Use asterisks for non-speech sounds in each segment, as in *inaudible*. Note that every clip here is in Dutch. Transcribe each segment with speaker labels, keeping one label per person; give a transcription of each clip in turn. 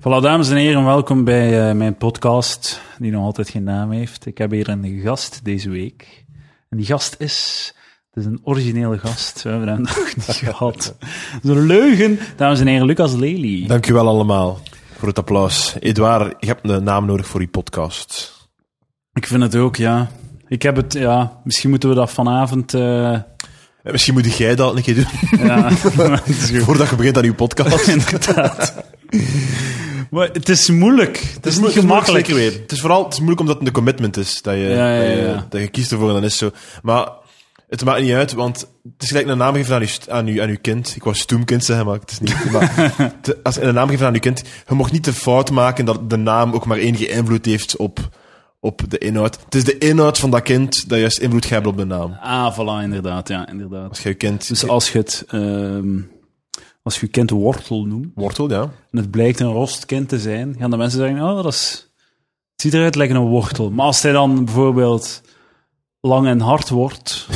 Speaker 1: Voilà, dames en heren, welkom bij eh, mijn podcast, die nog altijd geen naam heeft. Ik heb hier een gast deze week. En die gast is... Het is een originele gast, we hebben hem *laughs* nog niet gehad. Zo'n leugen. Dames en heren, Lucas Lely.
Speaker 2: Dankjewel allemaal voor het applaus. Edouard, je hebt een naam nodig voor je podcast.
Speaker 1: Ik vind het ook, ja. Ik heb het, ja. Misschien moeten we dat vanavond... eh,
Speaker 2: *laughs* Eh, Misschien moet jij dat een keer doen, *laughs*
Speaker 1: ja, het is goed.
Speaker 2: voordat je begint aan je podcast. Het
Speaker 1: Inderdaad. Maar het is moeilijk. *laughs* Het, is,
Speaker 2: mo-
Speaker 1: niet
Speaker 2: het moeilijk,
Speaker 1: gemakkelijk.
Speaker 2: zeker weten. Het is vooral het is moeilijk omdat het een commitment is, dat je,
Speaker 1: Ja, ja,
Speaker 2: dat je,
Speaker 1: ja.
Speaker 2: dat je kiest ervoor en dan is het zo. Maar het maakt niet uit, want het is gelijk een naam geven aan je, st- aan je, aan je kind. Ik wou stoemkind zeggen, maar het is niet. Maar
Speaker 1: *laughs*
Speaker 2: te- als je een naam geeft aan je kind, je mag niet de fout maken dat de naam ook maar enige invloed heeft op, op de inhoud. Het is de inhoud van dat kind dat juist invloed gaat hebben op de naam.
Speaker 1: Ah, voilà, inderdaad. Ja, inderdaad.
Speaker 2: Als je je kind
Speaker 1: Dus als je het, ehm, als je je kind wortel noemt,
Speaker 2: Wortel, ja.
Speaker 1: en het blijkt een rostkind te zijn, gaan de mensen zeggen, oh, dat is, het ziet eruit lijkt een wortel. Maar als hij dan bijvoorbeeld lang en hard
Speaker 2: *laughs*
Speaker 1: wordt,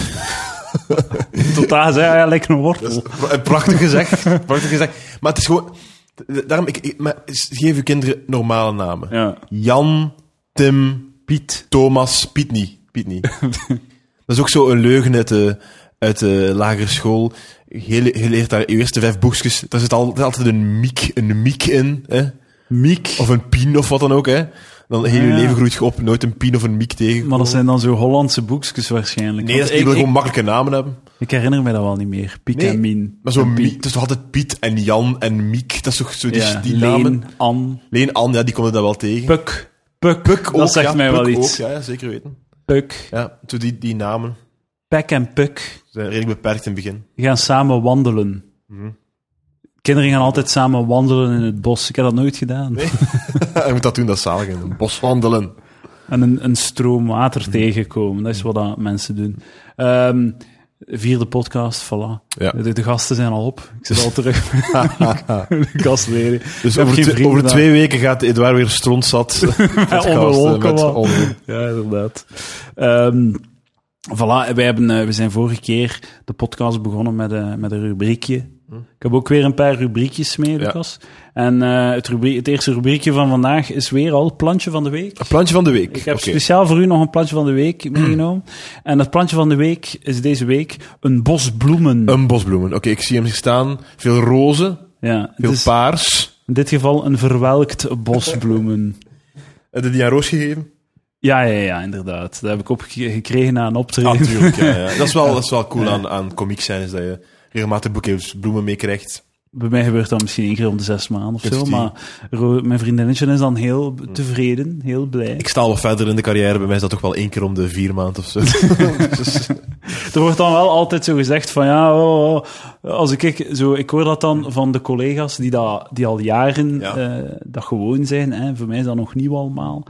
Speaker 1: tot daar zeggen, ja, lijkt een wortel.
Speaker 2: Prachtig gezegd. prachtig gezegd. Maar het is gewoon... Daarom, ik, ik- maar geef je kinderen normale namen.
Speaker 1: Ja.
Speaker 2: Jan, Tim,
Speaker 1: Piet.
Speaker 2: Thomas, Piet niet. Piet *laughs* niet. Dat is ook zo een leugen uit de, uit de lagere school. Je, le- je leert daar je eerste vijf boekjes. Daar zit al- altijd een miek, een miek in. Hè?
Speaker 1: Miek.
Speaker 2: Of een pien of wat dan ook. Hè? Dan heel je
Speaker 1: Ja.
Speaker 2: leven groeit je op. Nooit een pien of een miek tegen.
Speaker 1: Maar dat zijn dan zo Hollandse boekjes waarschijnlijk.
Speaker 2: Nee,
Speaker 1: Want
Speaker 2: dat is, die
Speaker 1: ik,
Speaker 2: wil
Speaker 1: ik,
Speaker 2: gewoon makkelijke namen hebben.
Speaker 1: ik herinner mij dat wel niet meer. Piek
Speaker 2: Nee,
Speaker 1: en Min.
Speaker 2: Maar zo
Speaker 1: En
Speaker 2: Mie-
Speaker 1: Piet.
Speaker 2: het is toch altijd Piet en Jan en Miek. Dat is toch zo die,
Speaker 1: Ja,
Speaker 2: dus die
Speaker 1: Leen,
Speaker 2: namen.
Speaker 1: An,
Speaker 2: Leen An, ja, die komt er dan wel tegen.
Speaker 1: Puk. Puk, dat
Speaker 2: ook,
Speaker 1: zegt
Speaker 2: ja,
Speaker 1: mij
Speaker 2: Puk
Speaker 1: wel iets.
Speaker 2: Ook, ja, ja, zeker weten.
Speaker 1: Puk,
Speaker 2: Ja, toen die, die namen
Speaker 1: Pek en Puk.
Speaker 2: zijn redelijk beperkt in het begin. *laughs*
Speaker 1: Die gaan samen wandelen.
Speaker 2: Mhm.
Speaker 1: Kinderen gaan altijd samen wandelen in het bos. Ik heb dat nooit gedaan.
Speaker 2: je moet dat doen, dat is zalig. In een bos wandelen.
Speaker 1: En een, een stroom water
Speaker 2: Mhm.
Speaker 1: tegenkomen. Dat is wat dat mensen doen. Ehm, vierde podcast, voilà.
Speaker 2: Ja.
Speaker 1: De, de gasten zijn al op. Ik zit al
Speaker 2: *laughs*
Speaker 1: terug. *laughs* de gastleden.
Speaker 2: Dus
Speaker 1: Ik heb
Speaker 2: over,
Speaker 1: geen
Speaker 2: twee-
Speaker 1: vrienden
Speaker 2: over
Speaker 1: daar. *laughs*
Speaker 2: twee weken gaat Edouard weer strontzat. podcasten
Speaker 1: wolken,
Speaker 2: eh, met
Speaker 1: man.
Speaker 2: onder-
Speaker 1: *laughs* Ja, inderdaad. Ehm voilà, wij hebben, eh, we zijn vorige keer de podcast begonnen met, eh, met een rubriekje. Ik heb ook weer een paar rubriekjes mee, Lucas. En eh, het, rubrie- het eerste rubriekje van vandaag is weer al Plantje van de Week.
Speaker 2: Een plantje van de week.
Speaker 1: Ik heb
Speaker 2: Oké.
Speaker 1: speciaal voor u nog een plantje van de week meegenomen. En dat plantje van de week is deze week een bos bloemen.
Speaker 2: Een bosbloemen. Oké, ik zie hem hier staan. Veel rozen,
Speaker 1: ja, het
Speaker 2: veel
Speaker 1: is
Speaker 2: paars.
Speaker 1: in dit geval een verwelkt bosbloemen.
Speaker 2: Heb je die aan Roos gegeven?
Speaker 1: ja, ja, ja, inderdaad. Dat heb ik opgekregen na een optreden.
Speaker 2: Ah, tuurlijk, ja, ja. Dat, is wel, dat is wel cool aan, aan komiek zijn, is dat je regelmatig boekjes bloemen meekrijgt.
Speaker 1: Bij mij gebeurt dat misschien één keer om de zes maanden of zo.
Speaker 2: Fifteen.
Speaker 1: Maar Ro- mijn vriendinnetje is dan heel b- tevreden, heel blij.
Speaker 2: Ik sta al wat verder in de carrière, bij mij is dat toch wel één keer om de vier maanden of zo. Dus-
Speaker 1: Er wordt dan wel altijd zo gezegd van ja, oh, oh, als ik, ik zo, ik hoor dat dan van de collega's die, dat, die al jaren
Speaker 2: Ja.
Speaker 1: eh, dat gewoon zijn. Hè, voor mij is dat nog nieuw allemaal.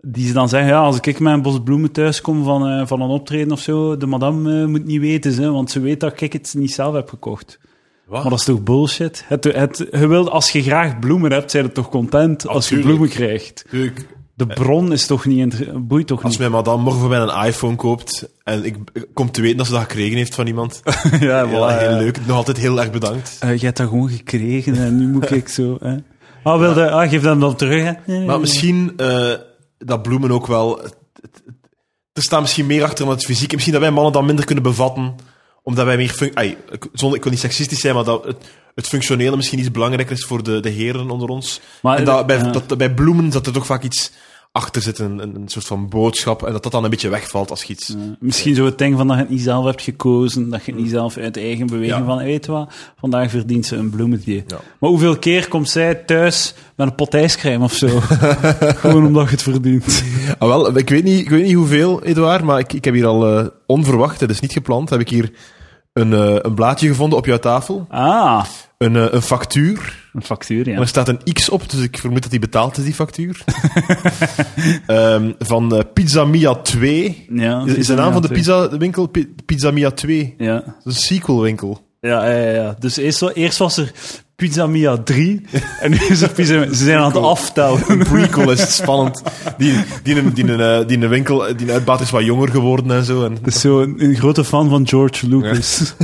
Speaker 1: Die ze dan zeggen, ja, als ik met een bos bloemen thuis kom van, eh, van een optreden of zo, de madame eh, moet niet weten, hè, want ze weet dat ik het niet zelf heb gekocht.
Speaker 2: Wat?
Speaker 1: Maar dat is toch bullshit? Het, het, je wilt, als je graag bloemen hebt, zijn je toch content als je
Speaker 2: Natuurlijk. Eh.
Speaker 1: bloemen krijgt?
Speaker 2: Tuurlijk,
Speaker 1: De bron is toch niet, inter- boeit toch
Speaker 2: als *laughs*
Speaker 1: niet?
Speaker 2: mijn madame morgen voor mij een iPhone koopt en ik ik kom te weten dat ze dat gekregen heeft van iemand,
Speaker 1: ja,
Speaker 2: heel, heel leuk. Nog altijd heel erg bedankt.
Speaker 1: Eh, je hebt dat gewoon gekregen en nu moet ik zo. Hè. *laughs* Ah, wilde, ah, geef dat dan terug. Hè. Nee, nee, nee.
Speaker 2: Maar misschien eh, dat bloemen ook wel... het- het- het- Er staan misschien meer achter dan het fysiek. En Misschien dat wij mannen dat minder kunnen bevatten, omdat wij meer... func- Ai, ik- zonder, ik wil niet seksistisch zijn, maar dat het, het functionele misschien iets belangrijker is voor de, de heren onder ons.
Speaker 1: Maar-
Speaker 2: en dat bij,
Speaker 1: ja.
Speaker 2: dat, bij bloemen dat er toch vaak iets achter zit, een, een een soort van boodschap, en dat dat dan een beetje wegvalt als je iets...
Speaker 1: Misschien zo het ding van dat je het niet zelf hebt gekozen, dat je het niet zelf uit eigen beweging
Speaker 2: Mm. Ja.
Speaker 1: van, weet je wat, vandaag verdient ze een bloemetje.
Speaker 2: Ja.
Speaker 1: Maar hoeveel keer komt zij thuis met een pot ijscrème of
Speaker 2: *laughs*
Speaker 1: zo? gewoon omdat je het verdient.
Speaker 2: Ah, wel, ik weet niet, ik weet niet hoeveel, Edouard, maar ik, ik heb hier al eh, onverwacht, het is niet gepland, heb ik hier een, eh, een blaadje gevonden op jouw tafel.
Speaker 1: Ah,
Speaker 2: Een, eh, een factuur.
Speaker 1: een factuur,
Speaker 2: En
Speaker 1: ja.
Speaker 2: er staat een X op, dus ik vermoed dat die betaald is,
Speaker 1: *laughs*
Speaker 2: die factuur. Ehm, van eh, Pizza Mia 2.
Speaker 1: ja
Speaker 2: Is, is de naam van de
Speaker 1: pizza.
Speaker 2: pizza winkel Pi- Pizza Mia 2?
Speaker 1: Ja.
Speaker 2: Dat is een sequelwinkel.
Speaker 1: Ja, ja, ja, ja. Dus eerst, wa- eerst was er Pizza Mia
Speaker 2: *laughs*
Speaker 1: 3 en nu is er Pizza Ze zijn aan het aftellen.
Speaker 2: Een prequel is spannend. Die, die, een- die, een, eh, die een winkel, eh, die uitbaat is wat jonger geworden en zo. En
Speaker 1: Dat is zo een, een grote fan van George Lucas.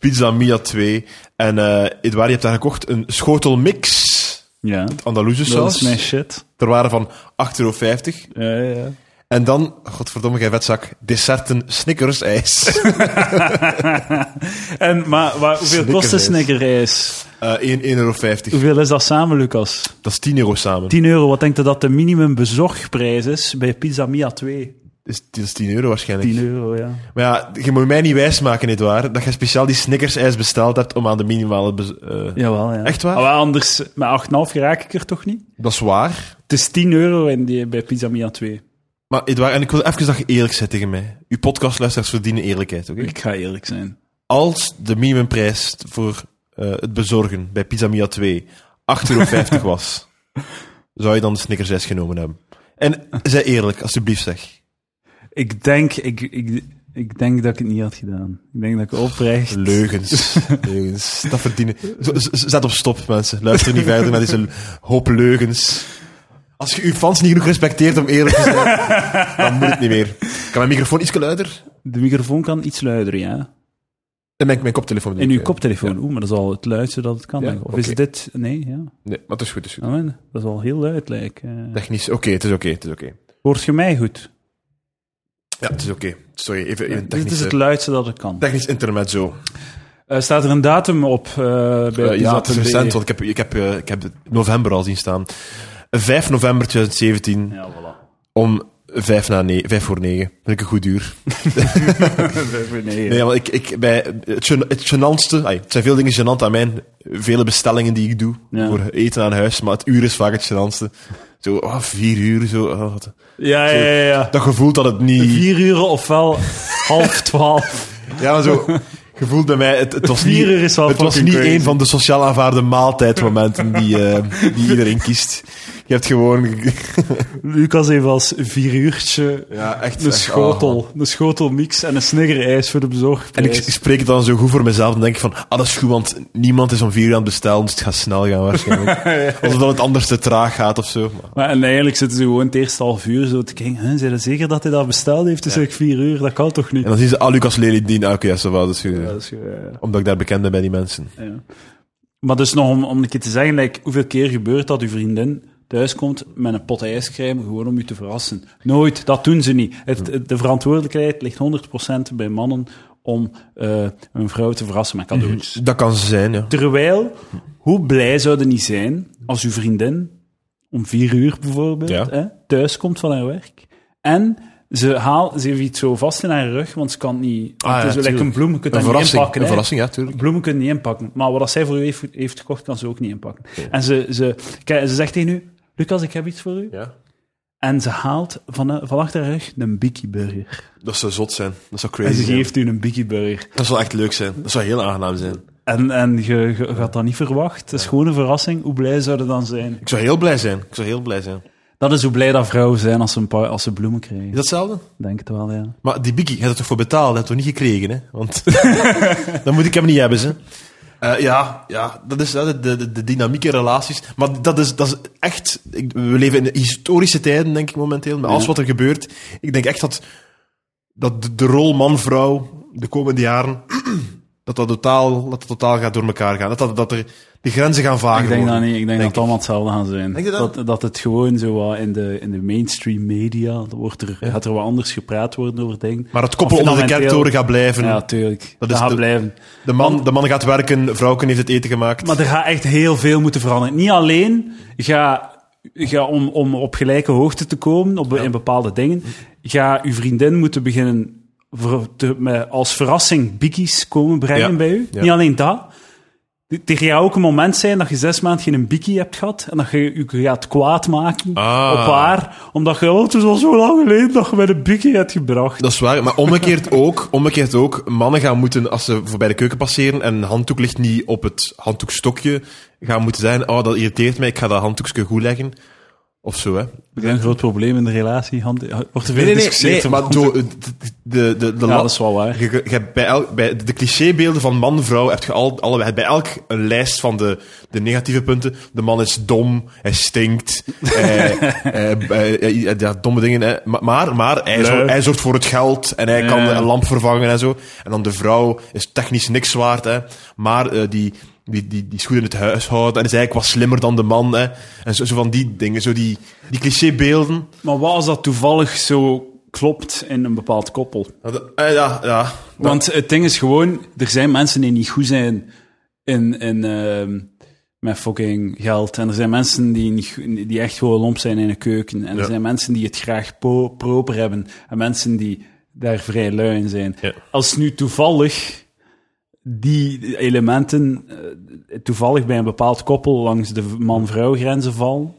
Speaker 2: Pizza Mia 2. En eh Edouard, je hebt daar gekocht een schotel mix.
Speaker 1: *laughs* Ja,
Speaker 2: Andalusië
Speaker 1: dat is
Speaker 2: saus.
Speaker 1: mijn shit.
Speaker 2: Er waren van 8,50 euro.
Speaker 1: Ja, ja, ja.
Speaker 2: En dan, godverdomme, gij vetzak, desserten Snickers
Speaker 1: *laughs*
Speaker 2: ijs.
Speaker 1: En, maar waar, hoeveel kost een snickerijs?
Speaker 2: Eh 1,50 euro. Dat
Speaker 1: Hoeveel is dat samen, Lucas?
Speaker 2: is 10 euro samen.
Speaker 1: 10 euro, wat denk je dat de minimum bezorgprijs is bij Pizza Mia 2?
Speaker 2: Is, dat is 10 euro waarschijnlijk.
Speaker 1: 10 euro, ja.
Speaker 2: Maar ja, je moet mij niet wijsmaken, nietwaar, dat je speciaal die Snickers-ijs besteld hebt om aan de minimale... bez- eh,
Speaker 1: Jawel, ja.
Speaker 2: Echt waar?
Speaker 1: Ah, wel, anders, met 8,5 raak ik er toch niet?
Speaker 2: Dat is waar.
Speaker 1: Het is 10 euro in die, bij Pizza Mia 2.
Speaker 2: Maar Edouard, en ik wil even dat je eerlijk bent tegen mij. Uw podcastluisteraars verdienen eerlijkheid, oké?
Speaker 1: Ik ga eerlijk zijn.
Speaker 2: Als de minimumprijs voor eh, het bezorgen bij Pizza Mia 2 8,50
Speaker 1: *laughs*
Speaker 2: euro was, zou je dan de Snickers-ijs genomen hebben? En zij eerlijk, alsjeblieft zeg.
Speaker 1: Ik denk, ik, ik, ik denk dat ik het niet had gedaan. Ik denk dat ik oprecht...
Speaker 2: Leugens. Leugens. Dat verdienen. Z- z- Zet op stop, mensen. Luister niet verder naar deze hoop leugens. Als je uw fans niet genoeg respecteert om eerlijk te zijn, dan moet het niet meer. Kan mijn microfoon iets luider?
Speaker 1: De microfoon kan iets luider, ja.
Speaker 2: En mijn, mijn koptelefoon.
Speaker 1: In uw
Speaker 2: koptelefoon.
Speaker 1: koptelefoon. Oeh, maar dat is al het luidste dat het kan.
Speaker 2: Ja,
Speaker 1: denk ik. Of is
Speaker 2: oké.
Speaker 1: dit... Nee, ja.
Speaker 2: Nee, maar het is goed. Het is goed.
Speaker 1: Ah, man, Dat is al heel luid, lijkt. eh.
Speaker 2: Technisch, oké, het is oké, het is oké.
Speaker 1: Hoort je mij goed? Eh,
Speaker 2: Ja, het is oké. Sorry, even, even
Speaker 1: dit is
Speaker 2: technisch, eh,
Speaker 1: het luidste dat het kan.
Speaker 2: technisch intermezzo.
Speaker 1: Eh, staat er een datum op eh, bij
Speaker 2: Eh, ja, het is
Speaker 1: pizza.be?
Speaker 2: recent, want ik heb, ik, heb, eh, ik heb het november al zien staan. 5 november 2017
Speaker 1: Ja,
Speaker 2: *laughs*
Speaker 1: voilà.
Speaker 2: om 5, na ne- vijf voor 9. Vind ik een goed uur.
Speaker 1: nee,
Speaker 2: Nee, want ik, ik, bij het, gen- het genantste, ai, het zijn veel dingen genant aan mijn vele bestellingen die ik doe
Speaker 1: Ja.
Speaker 2: voor eten aan huis, maar het uur is vaak het genantste. Zo, ah, vier uur, zo. ah, wat-
Speaker 1: Ja, ja, ja. ja.
Speaker 2: dat gevoel dat het niet...
Speaker 1: Vier uur ofwel half twaalf.
Speaker 2: Ja, maar
Speaker 1: *laughs*
Speaker 2: zo, gevoel bij mij, het, het was niet...
Speaker 1: Vier uur is wel
Speaker 2: Het was
Speaker 1: fucking
Speaker 2: niet
Speaker 1: crazy.
Speaker 2: een van de sociaal aanvaarde maaltijdmomenten die, eh,
Speaker 1: *laughs*
Speaker 2: die iedereen kiest. Je hebt gewoon...
Speaker 1: Lucas heeft als vier uurtje
Speaker 2: Ja, echt Ah.
Speaker 1: een schotel, een schotelmix en een sniggerijs voor de
Speaker 2: En
Speaker 1: bezorgprijs.
Speaker 2: ik, ik spreek het dan zo goed voor mezelf. Dan denk ik van, ah, dat is goed, want niemand is om vier uur aan het bestellen, dus het gaat snel gaan
Speaker 1: *laughs*
Speaker 2: waarschijnlijk. Alsof dat het anders te traag gaat of zo. Maar,
Speaker 1: Maar, en eigenlijk zitten ze gewoon het eerste half uur zo te kijken. Hè, zijn ze zeker dat hij dat besteld heeft? Dus ik vier uur, dat kan toch niet?
Speaker 2: en dan zien ze, ah, Lucas Lelydien, ah, oké, ja, zo wel, dat is eh, goed.
Speaker 1: Ja, dat is ge- ja, ja.
Speaker 2: Omdat ik daar bekend ben bij die mensen.
Speaker 1: Ja. Maar dus nog om, om een keer te zeggen, like, hoeveel keer gebeurt dat uw vriendin thuiskomt met een pot ijscrème gewoon om u te verrassen? Nooit, dat doen ze niet. Het, het- de verantwoordelijkheid ligt 100% bij mannen om eh, een vrouw te verrassen met cadeautjes.
Speaker 2: Dat kan ze zijn, ja.
Speaker 1: Terwijl, hoe blij zouden niet zijn als uw vriendin om vier uur bijvoorbeeld
Speaker 2: Ja.
Speaker 1: hè, thuis komt van haar werk en ze, haal, ze heeft iets zo vast in haar rug, want ze kan het niet...
Speaker 2: Ah, ja,
Speaker 1: het is lekker
Speaker 2: tuurlijk.
Speaker 1: een bloem, je kunt
Speaker 2: Een
Speaker 1: dat niet
Speaker 2: verrassing,
Speaker 1: inpakken.
Speaker 2: een
Speaker 1: hè.
Speaker 2: verrassing, ja, tuurlijk.
Speaker 1: Bloemen kunnen niet inpakken. Maar wat zij voor u heeft, heeft gekocht, kan ze ook niet inpakken. En ze, ze, kijk, ze zegt tegen u, Lucas, ik heb iets voor u.
Speaker 2: Ja.
Speaker 1: En ze haalt van, van achter haar rug een Biggie Burger.
Speaker 2: Dat zou zot zijn. Dat zou
Speaker 1: En
Speaker 2: crazy
Speaker 1: ze
Speaker 2: zijn.
Speaker 1: geeft u een Biggie Burger.
Speaker 2: Dat zou echt leuk zijn. Dat zou heel aangenaam zijn.
Speaker 1: En, en je, je gaat dat niet verwacht. Het is gewoon een verrassing. Hoe blij zouden dan zijn?
Speaker 2: Ik zou heel blij zijn. Ik zou heel blij zijn. Is
Speaker 1: Dat is hoe blij dat vrouwen zijn als ze, een paar, als ze bloemen krijgen.
Speaker 2: dat hetzelfde?
Speaker 1: Denk het wel, ja.
Speaker 2: Maar die Biggie, je hebt er toch voor betaald? Dat heb je toch niet gekregen, hè? Want *laughs* dan moet ik hem niet hebben, ze. Eh, ja, ja, dat is eh, de, de, de dynamieke relaties. Maar dat is, dat is echt... ik- we leven in historische tijden, denk ik, momenteel. Met alles
Speaker 1: Ja.
Speaker 2: wat er gebeurt. Ik denk echt dat, dat de, de rol man-vrouw de komende jaren... *clears throat* dat dat totaal, dat dat totaal gaat door elkaar gaan. Dat, dat, dat er de grenzen gaan vagen
Speaker 1: Ik denk
Speaker 2: worden.
Speaker 1: dat niet. Ik denk, dat
Speaker 2: Denk
Speaker 1: het allemaal hetzelfde gaan zijn.
Speaker 2: Denk je dat?
Speaker 1: Dat, dat het gewoon zo wat in de, in de mainstream media dan wordt er, gaat er wat anders gepraat worden over dingen.
Speaker 2: Maar het koppel onder de
Speaker 1: Fundamenteel-
Speaker 2: kerktoren gaat blijven.
Speaker 1: Ja, tuurlijk. Dat,
Speaker 2: is
Speaker 1: gaat
Speaker 2: de-
Speaker 1: blijven.
Speaker 2: de, man, de man gaat werken, vrouwken heeft het eten gemaakt.
Speaker 1: Maar er gaat echt heel veel moeten veranderen. Niet alleen ga, ga om, om op gelijke hoogte te komen op, be- in bepaalde dingen, ga uw vriendin moeten beginnen ver- te- met als verrassing bikkies komen brengen
Speaker 2: Ja.
Speaker 1: bij u.
Speaker 2: Ja.
Speaker 1: Niet alleen dat. D- Er gaat ook een moment zijn dat je zes maanden geen bikkie hebt gehad en dat je je gaat kwaad maken
Speaker 2: Ah.
Speaker 1: op haar, omdat je, oh, het is al zo lang geleden dat je met een bikkie hebt gebracht.
Speaker 2: Dat is waar, maar omgekeerd *laughs* ook, omgekeerd ook, mannen gaan moeten, als ze voorbij de keuken passeren en een handdoek ligt niet op het handdoekstokje, gaan moeten zijn, oh, dat irriteert mij, ik ga dat handdoekje goed leggen. Of zo, hè.
Speaker 1: Dat is een groot probleem in de relatie. Hand, wordt er veel gediscussieerd over
Speaker 2: maar zo, de, de, de, de
Speaker 1: Ja,
Speaker 2: la-
Speaker 1: dat is wel waar.
Speaker 2: Je- je- je hebt bij, elk, bij de clichébeelden van man en vrouw heb je al, allebei, bij elk een lijst van de, de negatieve punten. De man is dom, hij stinkt, hij, hij- hij- hij- ja, domme dingen. hè. Maar, maar, maar hij,
Speaker 1: Lui.
Speaker 2: zorgt, hij zorgt voor het geld en hij
Speaker 1: Ja.
Speaker 2: kan een lamp vervangen en zo. En dan de vrouw is technisch niks waard, hè. maar eh, die... die, die, die is goed in het huishouden en is eigenlijk wat slimmer dan de man. Hè. En zo, zo van die dingen, zo die, die clichébeelden.
Speaker 1: Maar wat als dat toevallig zo klopt in een bepaald koppel?
Speaker 2: Dat- eh, ja, ja.
Speaker 1: Want het ding is gewoon, er zijn mensen die niet goed zijn in, in, ehm, met fucking geld. En er zijn mensen die, niet goed- die echt gewoon lomp zijn in de keuken. En er
Speaker 2: Ja.
Speaker 1: zijn mensen die het graag po- proper hebben. En mensen die daar vrij lui in zijn.
Speaker 2: Ja.
Speaker 1: Als nu toevallig die elementen eh, toevallig bij een bepaald koppel langs de man-vrouw grenzen vallen,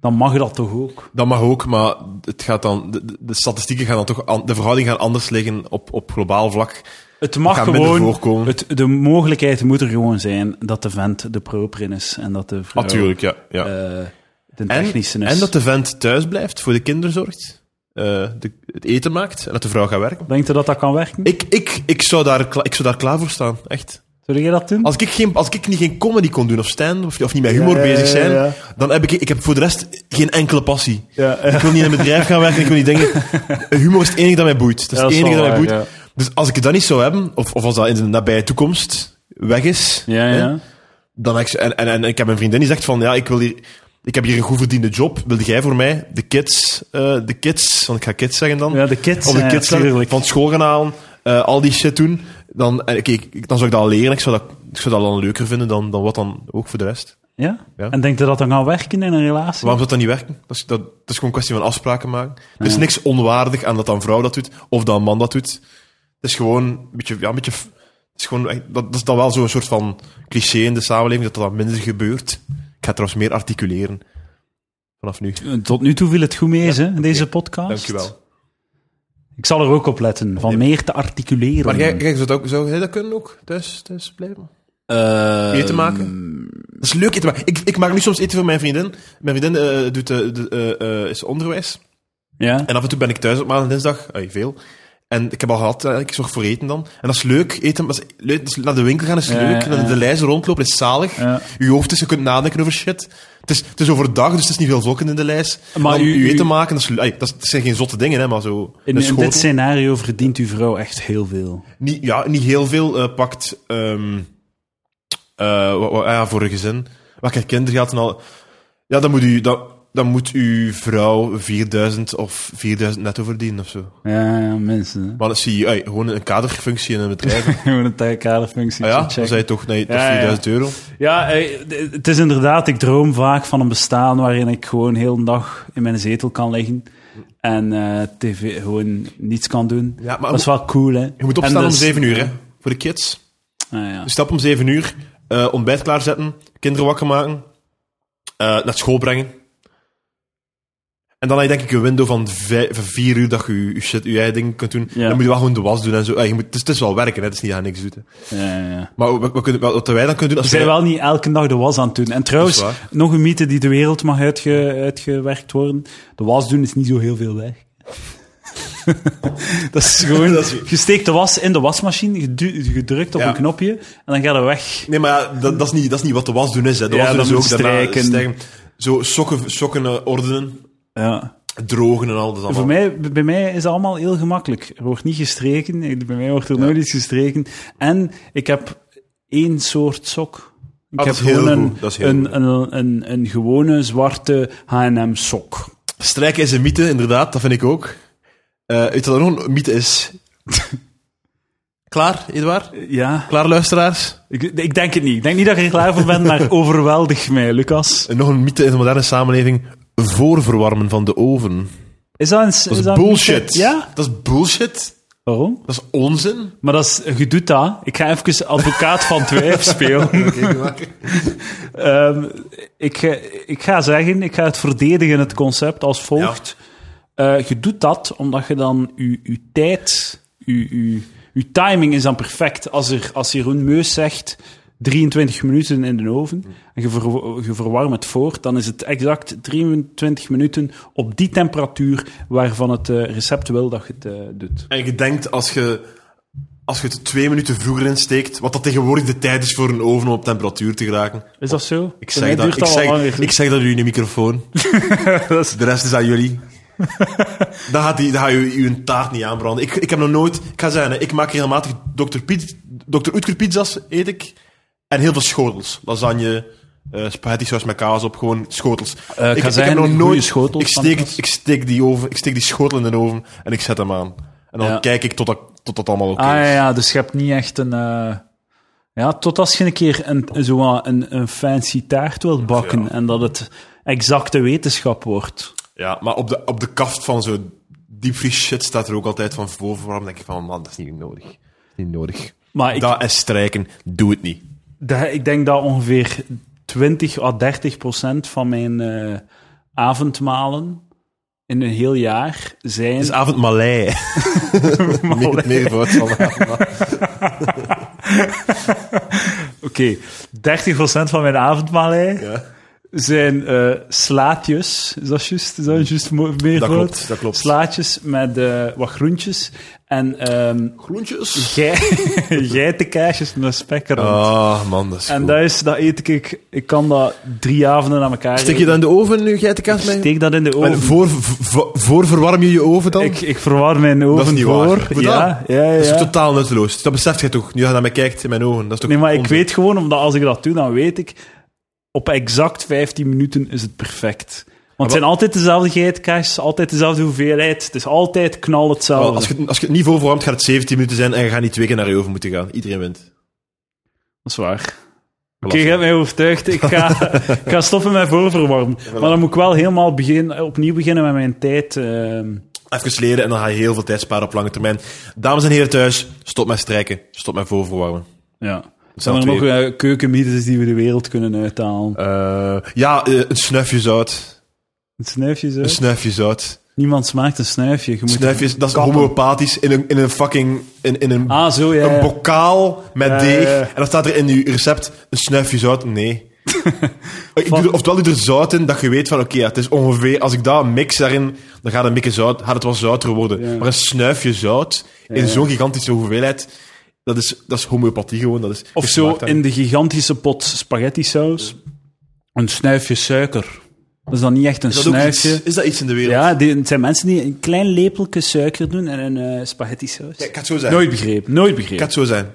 Speaker 1: dan mag dat toch ook?
Speaker 2: Dat mag ook, maar het gaat dan, de, de- de statistieken gaan dan toch, an- de verhouding gaan anders liggen op, op globaal vlak.
Speaker 1: Het mag
Speaker 2: Gaat minder
Speaker 1: gewoon.
Speaker 2: voorkomen.
Speaker 1: Het, de mogelijkheid moet er gewoon zijn dat de vent de proper in is en dat de vrouw
Speaker 2: Natuurlijk, Ah, ja. ja.
Speaker 1: eh, de
Speaker 2: en,
Speaker 1: technische is.
Speaker 2: en dat de vent thuis blijft, voor de kinderen zorgt, eh, de, het eten maakt en dat de vrouw gaat werken.
Speaker 1: Denk je dat dat kan werken?
Speaker 2: Ik, ik, ik, zou daar, kla- ik zou daar klaar voor staan, echt.
Speaker 1: Zou jij dat doen?
Speaker 2: Als ik, geen, als ik niet geen comedy kon doen of stand of, of niet met humor
Speaker 1: Ja, ja, ja,
Speaker 2: bezig zijn,
Speaker 1: ja.
Speaker 2: dan heb ik, ik heb voor de rest geen enkele passie.
Speaker 1: Ja,
Speaker 2: Ik wil niet in een bedrijf gaan werken, ik wil niet
Speaker 1: *laughs*
Speaker 2: denken... Humor is het enige dat mij boeit. Dat is
Speaker 1: Ja, dat
Speaker 2: het
Speaker 1: is
Speaker 2: enige
Speaker 1: wel
Speaker 2: dat mij boeit.
Speaker 1: waar,
Speaker 2: Dus als ik dat niet zou hebben, of, of als dat in de nabije toekomst weg is,
Speaker 1: Ja,
Speaker 2: hè,
Speaker 1: ja.
Speaker 2: dan heb ik, zo- en, en, en ik heb een vriendin die zegt van, ja, ik wil hier... Ik heb hier een goed verdiende job. Wilde jij voor mij de kids, eh, de kids, want ik ga kids zeggen dan.
Speaker 1: Ja, de kids.
Speaker 2: Of de
Speaker 1: ja,
Speaker 2: kids
Speaker 1: ja,
Speaker 2: dan
Speaker 1: tuurlijk.
Speaker 2: van school gaan halen, eh, al die shit doen. Dan, en, oké, ik- dan zou ik dat leren. Ik zou dat, ik zou dat dan leuker vinden dan, dan wat dan ook voor de rest.
Speaker 1: Ja?
Speaker 2: Ja.
Speaker 1: En denk je dat dan gaan werken in een relatie?
Speaker 2: Waarom zou dat dan niet werken? Dat is, dat, dat is gewoon een kwestie van afspraken maken. Er is niks onwaardig aan dat dan vrouw dat doet of dat een man dat doet. Het is gewoon een beetje. Ja, een beetje f- het is gewoon, echt- dat, dat is dan wel zo'n soort van cliché in de samenleving dat dat dan minder gebeurt. Ik ga trouwens meer articuleren vanaf nu.
Speaker 1: Eh, Tot nu toe viel het goed mee, hè, deze podcast.
Speaker 2: Dankjewel.
Speaker 1: Ik zal er ook op letten, van meer te articuleren.
Speaker 2: Maar jij, jij zou, dat ook, zou jij dat kunnen ook thuis, thuis blijven?
Speaker 1: Eh,
Speaker 2: Eten maken? Dat is leuk eten maken. Ik, ik maak nu soms eten voor mijn vriendin. Mijn vriendin eh, doet, eh, de- eh, eh, is onderwijs.
Speaker 1: Ja?
Speaker 2: En af en toe ben ik thuis op maandag en dinsdag. Ai, veel. En ik heb al gehad, eh, ik zorg voor eten dan. En dat is leuk. Eten, dat is leuk. Dat is- naar de winkel gaan is
Speaker 1: Ja,
Speaker 2: leuk.
Speaker 1: ja,
Speaker 2: Naar
Speaker 1: ja.
Speaker 2: de lijst rondlopen is zalig.
Speaker 1: Ja.
Speaker 2: Uw hoofd is, je kunt nadenken over shit. Het is, het is overdag, dus het is niet veel zokken in de lijst.
Speaker 1: Maar
Speaker 2: Maar
Speaker 1: u-
Speaker 2: u,
Speaker 1: u-
Speaker 2: eten maken, dat, is, ai, dat is- dat zijn geen zotte dingen, hè, maar zo.
Speaker 1: In,
Speaker 2: een
Speaker 1: in dit
Speaker 2: schotel.
Speaker 1: scenario verdient uw vrouw echt heel veel.
Speaker 2: Niet, ja, niet heel veel eh, pakt ehm, eh, wat- wat- ah ja, voor een gezin. Wat kijk, kinderen gaat en al. Ja, dan moet, u, dan, dan moet uw vrouw 4000 of 4000 netto verdienen of zo.
Speaker 1: Ja, ja, mensen. hè. *laughs*
Speaker 2: Maar dan zie je ui, gewoon een kaderfunctie in een bedrijf. Ah
Speaker 1: Gewoon een ta- kaderfunctie.
Speaker 2: ja,
Speaker 1: checken.
Speaker 2: dan zei je toch nee, tot
Speaker 1: Ja, ja.
Speaker 2: 4000 euro.
Speaker 1: Ja, eh, d- het is inderdaad, ik droom vaak van een bestaan waarin ik gewoon heel een dag in mijn zetel kan liggen en eh, tv gewoon niets kan doen.
Speaker 2: Ja, maar
Speaker 1: dat is wel cool, hè? dus- Ah,
Speaker 2: je moet opstaan om 7 uur, hè? Voor de kids.
Speaker 1: ja.
Speaker 2: Dus stap om 7 uur, eh, ontbijt klaarzetten, kinderen wakker maken, eh, naar school brengen. En dan heb je denk ik een window van vij- van vier uur dat je je shit, je eigen dingen kunt doen.
Speaker 1: Ja.
Speaker 2: Dan moet je wel gewoon de was doen en zo. Eh, je moet, het, is, het is wel werken, hè, het is niet aan niks doen.
Speaker 1: ja, ja, ja.
Speaker 2: Maar wat, wat kunnen- wat- wat wij dan kunnen doen...
Speaker 1: We
Speaker 2: Als
Speaker 1: zijn
Speaker 2: wij-
Speaker 1: wel niet elke dag de was aan het doen. En trouwens,
Speaker 2: Dus Dat is waar.
Speaker 1: nog een mythe die de wereld mag uitge- uitgewerkt worden. De was doen is niet zo heel veel werk. *laughs* dat is gewoon...
Speaker 2: *laughs* Dat is-
Speaker 1: Je steekt de was in de wasmachine, je, du- je drukt op
Speaker 2: Ja.
Speaker 1: een knopje en dan gaat het weg.
Speaker 2: Nee, maar ja, dat, dat, is niet, dat is niet wat de was doen is. Hè. De
Speaker 1: Ja,
Speaker 2: was doen
Speaker 1: dan
Speaker 2: is ook
Speaker 1: moet je
Speaker 2: daarna
Speaker 1: strijken.
Speaker 2: stijgen. Zo sokken, sokken eh, ordenen,
Speaker 1: Ja.
Speaker 2: drogen en al. Dat is allemaal.
Speaker 1: Voor mij, bij mij is dat allemaal heel gemakkelijk. Er wordt niet gestreken. Ik- Bij mij wordt er nooit iets gestreken. En ik heb één soort sok. Ik
Speaker 2: Ah,
Speaker 1: heb
Speaker 2: dat is heel
Speaker 1: gewoon een,
Speaker 2: goed. Dat is heel
Speaker 1: een,
Speaker 2: goed.
Speaker 1: een, een, een gewone zwarte H&M sok.
Speaker 2: Strijken is een mythe, inderdaad, dat vind ik ook. Eh weet je wat nog een mythe is? *laughs* Klaar, Edouard?
Speaker 1: Ja,
Speaker 2: Klaar, luisteraars?
Speaker 1: ik, ik denk het niet. Ik denk niet dat je er klaar voor bent,
Speaker 2: *laughs*
Speaker 1: maar overweldig mij, Lucas.
Speaker 2: En Eh, nog een mythe in de moderne samenleving. Voorverwarmen van de oven.
Speaker 1: Is dat een... s-
Speaker 2: Dat is,
Speaker 1: dat een-
Speaker 2: bullshit.
Speaker 1: Ja?
Speaker 2: Dat is bullshit.
Speaker 1: Waarom?
Speaker 2: Dat is onzin.
Speaker 1: Maar dat is, je doet dat. Ik ga even advocaat van twijf spelen. Ehm, ik, eh, ik ga zeggen, ik ga het verdedigen, het concept, als volgt. Eh, je doet dat omdat je dan je, je tijd, je, je, je timing is dan perfect. Als, er, als Jeroen Meus zegt 23 minuten in de oven en je, ver- je verwarmt het voor, dan is het exact 23 minuten op die temperatuur waarvan het eh, recept wil dat je het eh, doet.
Speaker 2: En je denkt, als je, als je het twee minuten vroeger insteekt, wat dat tegenwoordig de tijd is voor een oven om op temperatuur te geraken.
Speaker 1: Is dat zo?
Speaker 2: Ik
Speaker 1: Voor mij
Speaker 2: zeg, dat,
Speaker 1: duurt
Speaker 2: ik,
Speaker 1: al wel
Speaker 2: zeg,
Speaker 1: langer.
Speaker 2: ik zeg dat u in de
Speaker 1: *laughs*
Speaker 2: microfoon. De rest is aan jullie. dan gaat, die, dan gaat u uw taart niet aanbranden. Ik, ik heb nog nooit... Ik ga zeggen, hè, ik maak regelmatig Dr. Piet, Dr. Oetker pizza's, eet ik. En heel veel schotels. Lasagne, eh spaghetti saus met kaas op, gewoon schotels.
Speaker 1: Eh,
Speaker 2: ik,
Speaker 1: kazijn,
Speaker 2: heb nog
Speaker 1: goeie
Speaker 2: nooit...
Speaker 1: schotels
Speaker 2: ik,
Speaker 1: van
Speaker 2: steek,
Speaker 1: kaas.
Speaker 2: ik, steek die oven, ik steek die schotel in de oven en ik zet hem aan. En dan
Speaker 1: Ja.
Speaker 2: kijk ik tot dat, tot dat allemaal oké
Speaker 1: Ah ja,
Speaker 2: is.
Speaker 1: ja, dus je hebt niet echt een. eh, ja, tot als je een keer een, zo wat een, een fancy taart wilt bakken
Speaker 2: Ja.
Speaker 1: en dat het exacte wetenschap wordt.
Speaker 2: Ja, maar op de, op de kaft van zo'n diepvries shit staat er ook altijd van boven. Waarom denk ik van, man, dat is niet nodig. Dat is niet nodig.
Speaker 1: Maar ik,
Speaker 2: Dat is strijken. Doe het niet.
Speaker 1: da- ik denk dat ongeveer 20 à 30 procent van mijn eh, avondmalen in een heel jaar zijn.
Speaker 2: Het is avond Malay.
Speaker 1: *laughs*
Speaker 2: meer, meer voor het van-
Speaker 1: Oké, 30 procent van mijn avondmalen
Speaker 2: Ja.
Speaker 1: zijn eh, slaatjes. Is dat juist? Is dat juist mo- meer
Speaker 2: Dat
Speaker 1: woord?
Speaker 2: klopt, dat klopt.
Speaker 1: Slaatjes met eh, wat groentjes en. ehm
Speaker 2: Groentjes.
Speaker 1: *laughs* Gij, geitenkaasjes met spek erom.
Speaker 2: Ah, man, dat is
Speaker 1: en
Speaker 2: goed.
Speaker 1: dat is, dat eet ik, ik kan dat drie avonden aan elkaar
Speaker 2: Stik je
Speaker 1: eten.
Speaker 2: dan in de oven nu, geitenkaas mee?
Speaker 1: Steek dat in de
Speaker 2: En
Speaker 1: oven.
Speaker 2: voor, voor, voor verwarm je je oven dan?
Speaker 1: Ik, ik verwar mijn oven
Speaker 2: dat is niet
Speaker 1: voor.
Speaker 2: waar. Hoe
Speaker 1: Ja,
Speaker 2: dan?
Speaker 1: ja, ja.
Speaker 2: Dat is totaal nutteloos. Dat beseft jij toch? Nu dat je naar mij kijkt in mijn ogen. Dat is toch
Speaker 1: Nee, maar ik
Speaker 2: onzin?
Speaker 1: weet gewoon, omdat als ik dat doe, dan weet ik, op exact 15 minuten is het perfect. Want het zijn altijd dezelfde geitenkaasjes, altijd dezelfde hoeveelheid. Het is altijd knal hetzelfde.
Speaker 2: Wel, als, je, als je het niet voorverwarmt, gaat het 17 minuten zijn en je gaat niet twee keer naar je oven moeten gaan. Iedereen wint.
Speaker 1: Dat is waar. Oké, je
Speaker 2: Belachelijk.
Speaker 1: hebt mij overtuigd. Ik
Speaker 2: *laughs*
Speaker 1: ga, ik ga stoppen met voorverwarmen. Maar dan moet ik wel helemaal begin, opnieuw beginnen met mijn tijd. ehm.
Speaker 2: Even leren en dan ga je heel veel tijd sparen op lange termijn. Dames en heren thuis, stop met strijken. Stop met voorverwarmen.
Speaker 1: Ja. Zijn
Speaker 2: Zijn
Speaker 1: er
Speaker 2: twee.
Speaker 1: nog eh, keukenmythes die we de wereld kunnen uithalen?
Speaker 2: Eh, ja, eh, een snuifje zout.
Speaker 1: Het snuifje zo.
Speaker 2: Een snuifje zout.
Speaker 1: Niemand smaakt een snuifje. Je moet
Speaker 2: Snuifjes, dat is
Speaker 1: kappen.
Speaker 2: homeopathisch in een, in een fucking... In, in een,
Speaker 1: Ah, zo, ja.
Speaker 2: een
Speaker 1: ja.
Speaker 2: bokaal met
Speaker 1: Ja,
Speaker 2: deeg.
Speaker 1: ja, ja.
Speaker 2: En dan staat er in je recept een snuifje zout. *laughs* Nee. ik doe er, oftewel doe je er zout in, dat je weet van... Oké, ja, het is ongeveer... Als ik dat mix daarin, dan gaat het, mikke zout, gaat het wel zouter worden.
Speaker 1: Ja.
Speaker 2: Maar een snuifje zout in
Speaker 1: ja.
Speaker 2: zo'n gigantische hoeveelheid... Dat is, dat is homeopathie gewoon. Dat is,
Speaker 1: Of
Speaker 2: je
Speaker 1: zo
Speaker 2: smaakt daar
Speaker 1: in de gigantische pot spaghetti saus. Een snuifje suiker. Dat is dan niet echt een
Speaker 2: Is dat, ook iets,
Speaker 1: snuifje.
Speaker 2: is dat iets in de wereld?
Speaker 1: Ja, die, het zijn mensen die een klein lepeltje suiker doen en een eh, spaghetti saus.
Speaker 2: Ja, ik had het zo zijn.
Speaker 1: Nooit begrepen. Nooit
Speaker 2: Ik
Speaker 1: begrepen.
Speaker 2: had het zo zijn.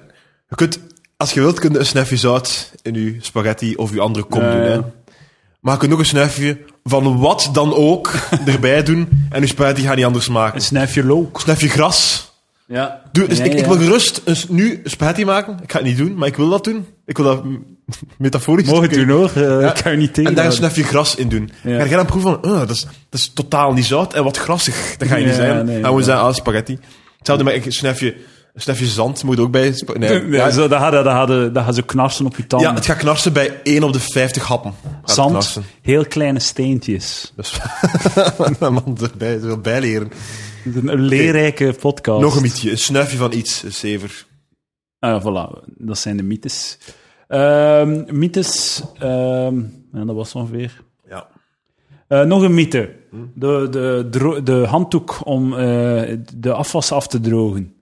Speaker 2: Je kunt, als je wilt, kun je een snuifje zout in je spaghetti of je andere kom
Speaker 1: Ja,
Speaker 2: doen. Hè.
Speaker 1: ja.
Speaker 2: Maar je kunt ook een snuifje van wat dan
Speaker 1: *laughs*
Speaker 2: ook erbij doen. En je spaghetti gaat niet anders maken.
Speaker 1: Een snuifje look.
Speaker 2: Snuifje gras.
Speaker 1: Ja.
Speaker 2: Doe, dus
Speaker 1: Ja,
Speaker 2: ik, ik
Speaker 1: ja.
Speaker 2: wil gerust een, s- nu spaghetti maken. Ik ga het niet doen, maar ik wil dat doen. Ik wil dat mm, *laughs* metaforisch
Speaker 1: Mooi doen hoor. Eh,
Speaker 2: Ja.
Speaker 1: Ik ga je niet tegen.
Speaker 2: En daar een snuifje gras in doen.
Speaker 1: Ja.
Speaker 2: En ga dan proeven van, eh, dat, is, dat is totaal niet zout en wat grassig. Dat ga je niet
Speaker 1: Ja,
Speaker 2: zijn.
Speaker 1: nee,
Speaker 2: en we
Speaker 1: ja.
Speaker 2: zijn ah, spaghetti. Hetzelfde met een snuifje, een snuifje zand moet ook bij. spa- Nee,
Speaker 1: Ja,
Speaker 2: ja,
Speaker 1: zo, dat hadden- dat hadden- dat gaan ze knarsen op je tanden.
Speaker 2: Ja, het gaat knarsen bij 1 op de 50 happen. Gaat het
Speaker 1: Zand,
Speaker 2: knarsen. *laughs*
Speaker 1: heel kleine steentjes.
Speaker 2: Dus, man, erbij, eh, ze wil bijleren.
Speaker 1: Het is Een leerrijke podcast.
Speaker 2: Nog een mythe, een snuifje van iets, een zever.
Speaker 1: Ah, voilà, dat zijn de mythes. Ehm, mythes, ehm, ja, dat was ongeveer.
Speaker 2: Ja.
Speaker 1: Eh, nog een mythe. De, de, dro- de handdoek om eh, de afwas af te drogen.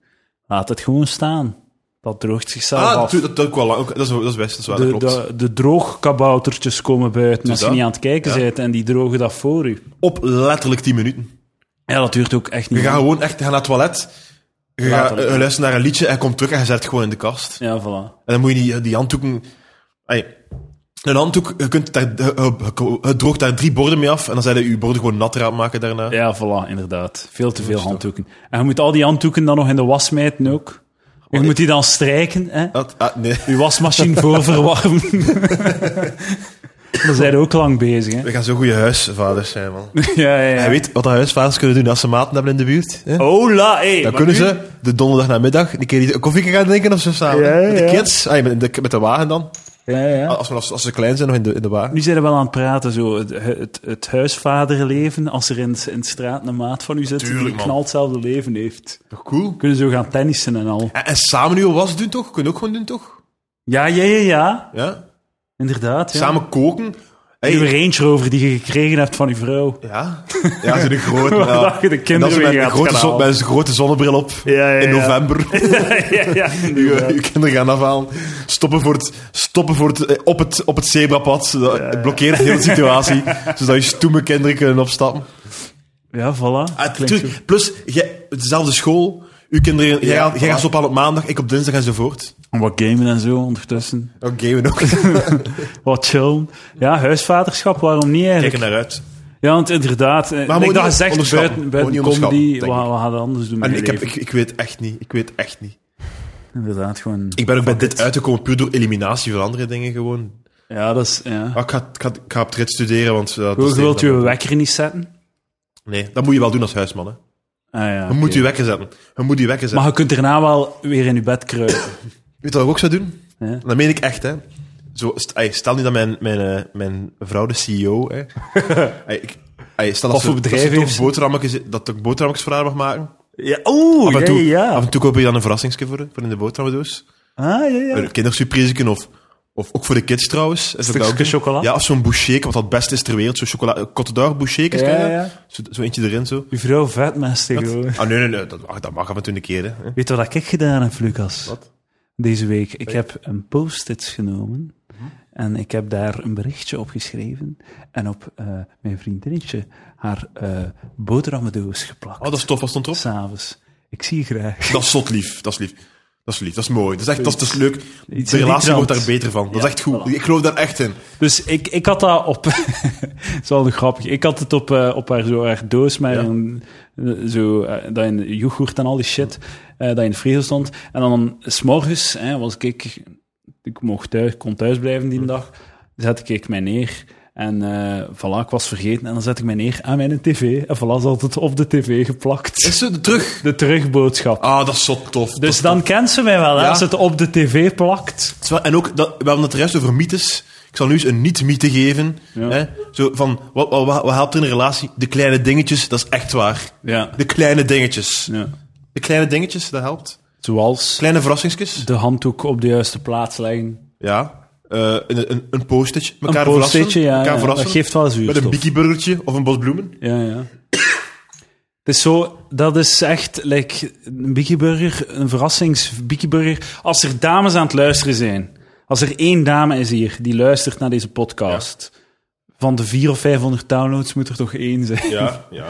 Speaker 1: Laat het gewoon staan. Dat droogt zichzelf
Speaker 2: Ah,
Speaker 1: af.
Speaker 2: dat, dat, dat, ook wel lang. Ook- dat, is, dat is best, dat is waar,
Speaker 1: de,
Speaker 2: Ah, dat klopt.
Speaker 1: de, de droogkaboutertjes komen buiten als je
Speaker 2: dat?
Speaker 1: niet aan het kijken
Speaker 2: Ja.
Speaker 1: bent en die drogen dat voor u.
Speaker 2: Op letterlijk 10 minuten.
Speaker 1: Ja, dat duurt ook echt
Speaker 2: Je
Speaker 1: niet.
Speaker 2: gaat
Speaker 1: lang.
Speaker 2: gewoon echt gaan naar het toilet. Je gaat
Speaker 1: Later.
Speaker 2: eh, luisteren naar een liedje en komt terug en je zet het gewoon in de kast.
Speaker 1: Ja, voilà.
Speaker 2: En dan moet je die, die handdoeken... Ay, een handdoek, je kunt daar, je- je- je droogt daar drie borden mee af en dan zijn je je borden gewoon nat eraan maken daarna.
Speaker 1: Ja, voilà, inderdaad. Veel te veel handdoeken. En je moet al die handdoeken dan nog in de was mijten ook. Je moet die dan strijken, hè?
Speaker 2: Dat, ah, nee.
Speaker 1: Je wasmachine voorverwarmen. Dan zijn we ook lang bezig, hè?
Speaker 2: We gaan zo goede huisvaders zijn, man.
Speaker 1: Ja, ja,
Speaker 2: Hij
Speaker 1: ja.
Speaker 2: weet wat de huisvaders kunnen doen als ze maten hebben in de buurt. Hè?
Speaker 1: Hola, hé.
Speaker 2: Dan
Speaker 1: maar
Speaker 2: kunnen
Speaker 1: nu-
Speaker 2: ze de donderdag namiddag een keer een koffie gaan drinken of zo samen.
Speaker 1: Ja,
Speaker 2: met de
Speaker 1: ja.
Speaker 2: kids. Ah, met, de, met de wagen dan. Ah,
Speaker 1: Ja, ja.
Speaker 2: Als, als, als ze klein zijn, nog in de, in de wagen.
Speaker 1: Nu zijn we wel aan het praten, zo. Het, het, het huisvaderleven, als er in, in de straat een maat van u zit die
Speaker 2: Tuurlijk,
Speaker 1: een
Speaker 2: man.
Speaker 1: knal hetzelfde leven heeft.
Speaker 2: Toch cool.
Speaker 1: Kunnen zo gaan tennissen en al.
Speaker 2: En, en samen nu al was doen, toch? Kunnen ook gewoon doen, toch?
Speaker 1: Ja, ja, ja, ja.
Speaker 2: Ja?
Speaker 1: Inderdaad, ja.
Speaker 2: Samen koken. Hey,
Speaker 1: Uw Range Rover die je gekregen hebt van uw vrouw.
Speaker 2: *laughs* Ja, ja zo'n
Speaker 1: *laughs*
Speaker 2: grote.
Speaker 1: Waar
Speaker 2: ja.
Speaker 1: dat je de
Speaker 2: En
Speaker 1: kinderen
Speaker 2: dat ze met
Speaker 1: mee
Speaker 2: een
Speaker 1: gaat
Speaker 2: grote,
Speaker 1: gaan
Speaker 2: zon-
Speaker 1: halen.
Speaker 2: met een grote zonnebril op
Speaker 1: Ja, ja,
Speaker 2: in
Speaker 1: ja.
Speaker 2: november.
Speaker 1: *laughs* ja, ja.
Speaker 2: Je,
Speaker 1: inderdaad.
Speaker 2: je kinderen gaan afhalen. Stoppen, voor het, stoppen voor het, eh, op het, op het zebrapad. Dat Het blokkeert de hele
Speaker 1: *laughs*
Speaker 2: situatie. zodat je stoeme kinderen kunnen opstappen.
Speaker 1: Ja, voilà.
Speaker 2: Ah,
Speaker 1: Klinkt
Speaker 2: tuurlijk. plus, jij, dezelfde school. Uw kinderen, jij,
Speaker 1: Ja,
Speaker 2: gaat- jij gaat ze ophalen op maandag, ik op dinsdag enzovoort.
Speaker 1: En Wat gamen en zo ondertussen.
Speaker 2: Oké, we *laughs* ook.
Speaker 1: Wat chillen. Ja, huisvaderschap, waarom niet eigenlijk?
Speaker 2: Kijk er naar uit.
Speaker 1: Ja, want inderdaad. eh,
Speaker 2: moet
Speaker 1: ik
Speaker 2: niet
Speaker 1: dacht gezegd,
Speaker 2: onderschatten.
Speaker 1: buiten,
Speaker 2: Moet
Speaker 1: buiten
Speaker 2: niet onderschatten,
Speaker 1: comedy, we,
Speaker 2: denk
Speaker 1: we gaan het anders doen.
Speaker 2: En
Speaker 1: met
Speaker 2: ik,
Speaker 1: je
Speaker 2: heb, ik,
Speaker 1: leven.
Speaker 2: ik weet echt niet. Ik weet echt niet.
Speaker 1: Inderdaad, gewoon...
Speaker 2: Ik ben ook bij dit uitgekomen puur door eliminatie van andere dingen gewoon.
Speaker 1: Ja, dat is... Ja.
Speaker 2: Ah, ik, ga, ik, ga, ik ga op het rit studeren, want... eh, dat
Speaker 1: Hoe
Speaker 2: is
Speaker 1: je wilt
Speaker 2: even-
Speaker 1: je wekker niet zetten?
Speaker 2: Nee, dat moet je wel doen als huisman. Hè.
Speaker 1: Ah, ja,
Speaker 2: Je
Speaker 1: oké.
Speaker 2: moet je wekker zetten. Je moet je wekker zetten.
Speaker 1: Maar je kunt daarna wel weer in je bed kruipen.
Speaker 2: Weet je wat ik ook zou doen?
Speaker 1: Ja.
Speaker 2: Dat meen ik echt, hè. Zo, st- ey, stel nu dat mijn, mijn, eh, mijn vrouw de
Speaker 1: *laughs*
Speaker 2: CEO... Hè. Ey, ik, ey, stel dat
Speaker 1: Wat voor
Speaker 2: ze-
Speaker 1: bedrijf
Speaker 2: dat ze toch
Speaker 1: heeft ze?
Speaker 2: boterhammetjes- Dat ik boterhammetjes voor haar mag maken.
Speaker 1: ja, oeh,
Speaker 2: Af en
Speaker 1: ja,
Speaker 2: toe,
Speaker 1: ja.
Speaker 2: Af en toe koop je dan een verrassingsje voor, voor in de boterhammendoos.
Speaker 1: Ah, ja, ja.
Speaker 2: Een kindersurprise of, of ook voor de kids trouwens. Is dat
Speaker 1: Stukje
Speaker 2: ook een-
Speaker 1: chocola.
Speaker 2: Ja, of zo'n boucheke, wat dat beste is ter wereld. Zo'n chocola, Cote d'Or boucheke.
Speaker 1: Ja,
Speaker 2: ken je dat?
Speaker 1: ja.
Speaker 2: Zo, zo eentje erin, zo.
Speaker 1: Uw vrouw vetmesten gewoon.
Speaker 2: Ah, nee, nee, nee, dat mag, dat mag af en toe een keer, hè.
Speaker 1: Weet je wat ik gedaan heb, Lucas?
Speaker 2: Wat?
Speaker 1: Deze week. Ik heb een post-it genomen.
Speaker 2: Mhm.
Speaker 1: En ik heb daar een berichtje op geschreven. En op eh, mijn vriendinnetje haar eh boterhammendoos geplakt.
Speaker 2: Oh, dat is tof, wat stond erop?
Speaker 1: S'avonds. Ik zie je graag.
Speaker 2: Dat is zot lief, dat is lief. Dat is lief, dat is mooi. Dat is echt, dat is, dat is leuk.
Speaker 1: Iets
Speaker 2: de relatie wordt daar
Speaker 1: irritants.
Speaker 2: beter van. Dat is
Speaker 1: Ja,
Speaker 2: echt goed.
Speaker 1: voilà.
Speaker 2: Ik geloof daar echt in.
Speaker 1: Dus ik, ik had dat op... *laughs* Het is wel nog grappig. Ik had het op, eh, op haar, zo, haar doos met
Speaker 2: Ja.
Speaker 1: een- eh, zo, eh, dat in yoghurt en al die shit, eh, dat in de vriezer stond. En dan s'morgens hè, was ik... Ik mocht thuis, kon thuis blijven die dag. Zette ik mij neer. En eh voilà, ik was vergeten. En dan zet ik mij neer aan mijn tv. En voilà, is altijd op de tv geplakt.
Speaker 2: Is ze terug?
Speaker 1: De terugboodschap.
Speaker 2: Ah, dat is zot tof. Dat
Speaker 1: Dus
Speaker 2: is
Speaker 1: dan kent ze mij wel, hè,
Speaker 2: Ja.
Speaker 1: als ze het op de tv plakt.
Speaker 2: Het is wel- en ook, dat, we hebben het de rest over mythes. Ik zal nu eens een niet-mythe geven.
Speaker 1: Ja.
Speaker 2: Hè? Zo van, wat, wat, wat, wat helpt er in een relatie? De kleine dingetjes, dat is echt waar.
Speaker 1: Ja.
Speaker 2: De kleine dingetjes.
Speaker 1: ja.
Speaker 2: De kleine dingetjes, dat helpt.
Speaker 1: Zoals
Speaker 2: Kleine verrassingsjes.
Speaker 1: de handdoek op de juiste plaats leggen.
Speaker 2: Ja. Eh, een, een, een post-itje.
Speaker 1: Een
Speaker 2: Mekaar
Speaker 1: post-itje,
Speaker 2: verrassen.
Speaker 1: ja,
Speaker 2: Mekaar
Speaker 1: ja, dat
Speaker 2: verrassen.
Speaker 1: geeft wel
Speaker 2: Met een
Speaker 1: zuurstof.
Speaker 2: bikieburgertje of een bos bloemen.
Speaker 1: Ja, ja. Het is zo, dat is echt like, een bikkieburger, een verrassings bikkieburger. Als er dames aan het luisteren zijn, als er één dame is hier die luistert naar deze podcast, van de vier of 500 downloads moet er toch één zijn.
Speaker 2: Ja, ja.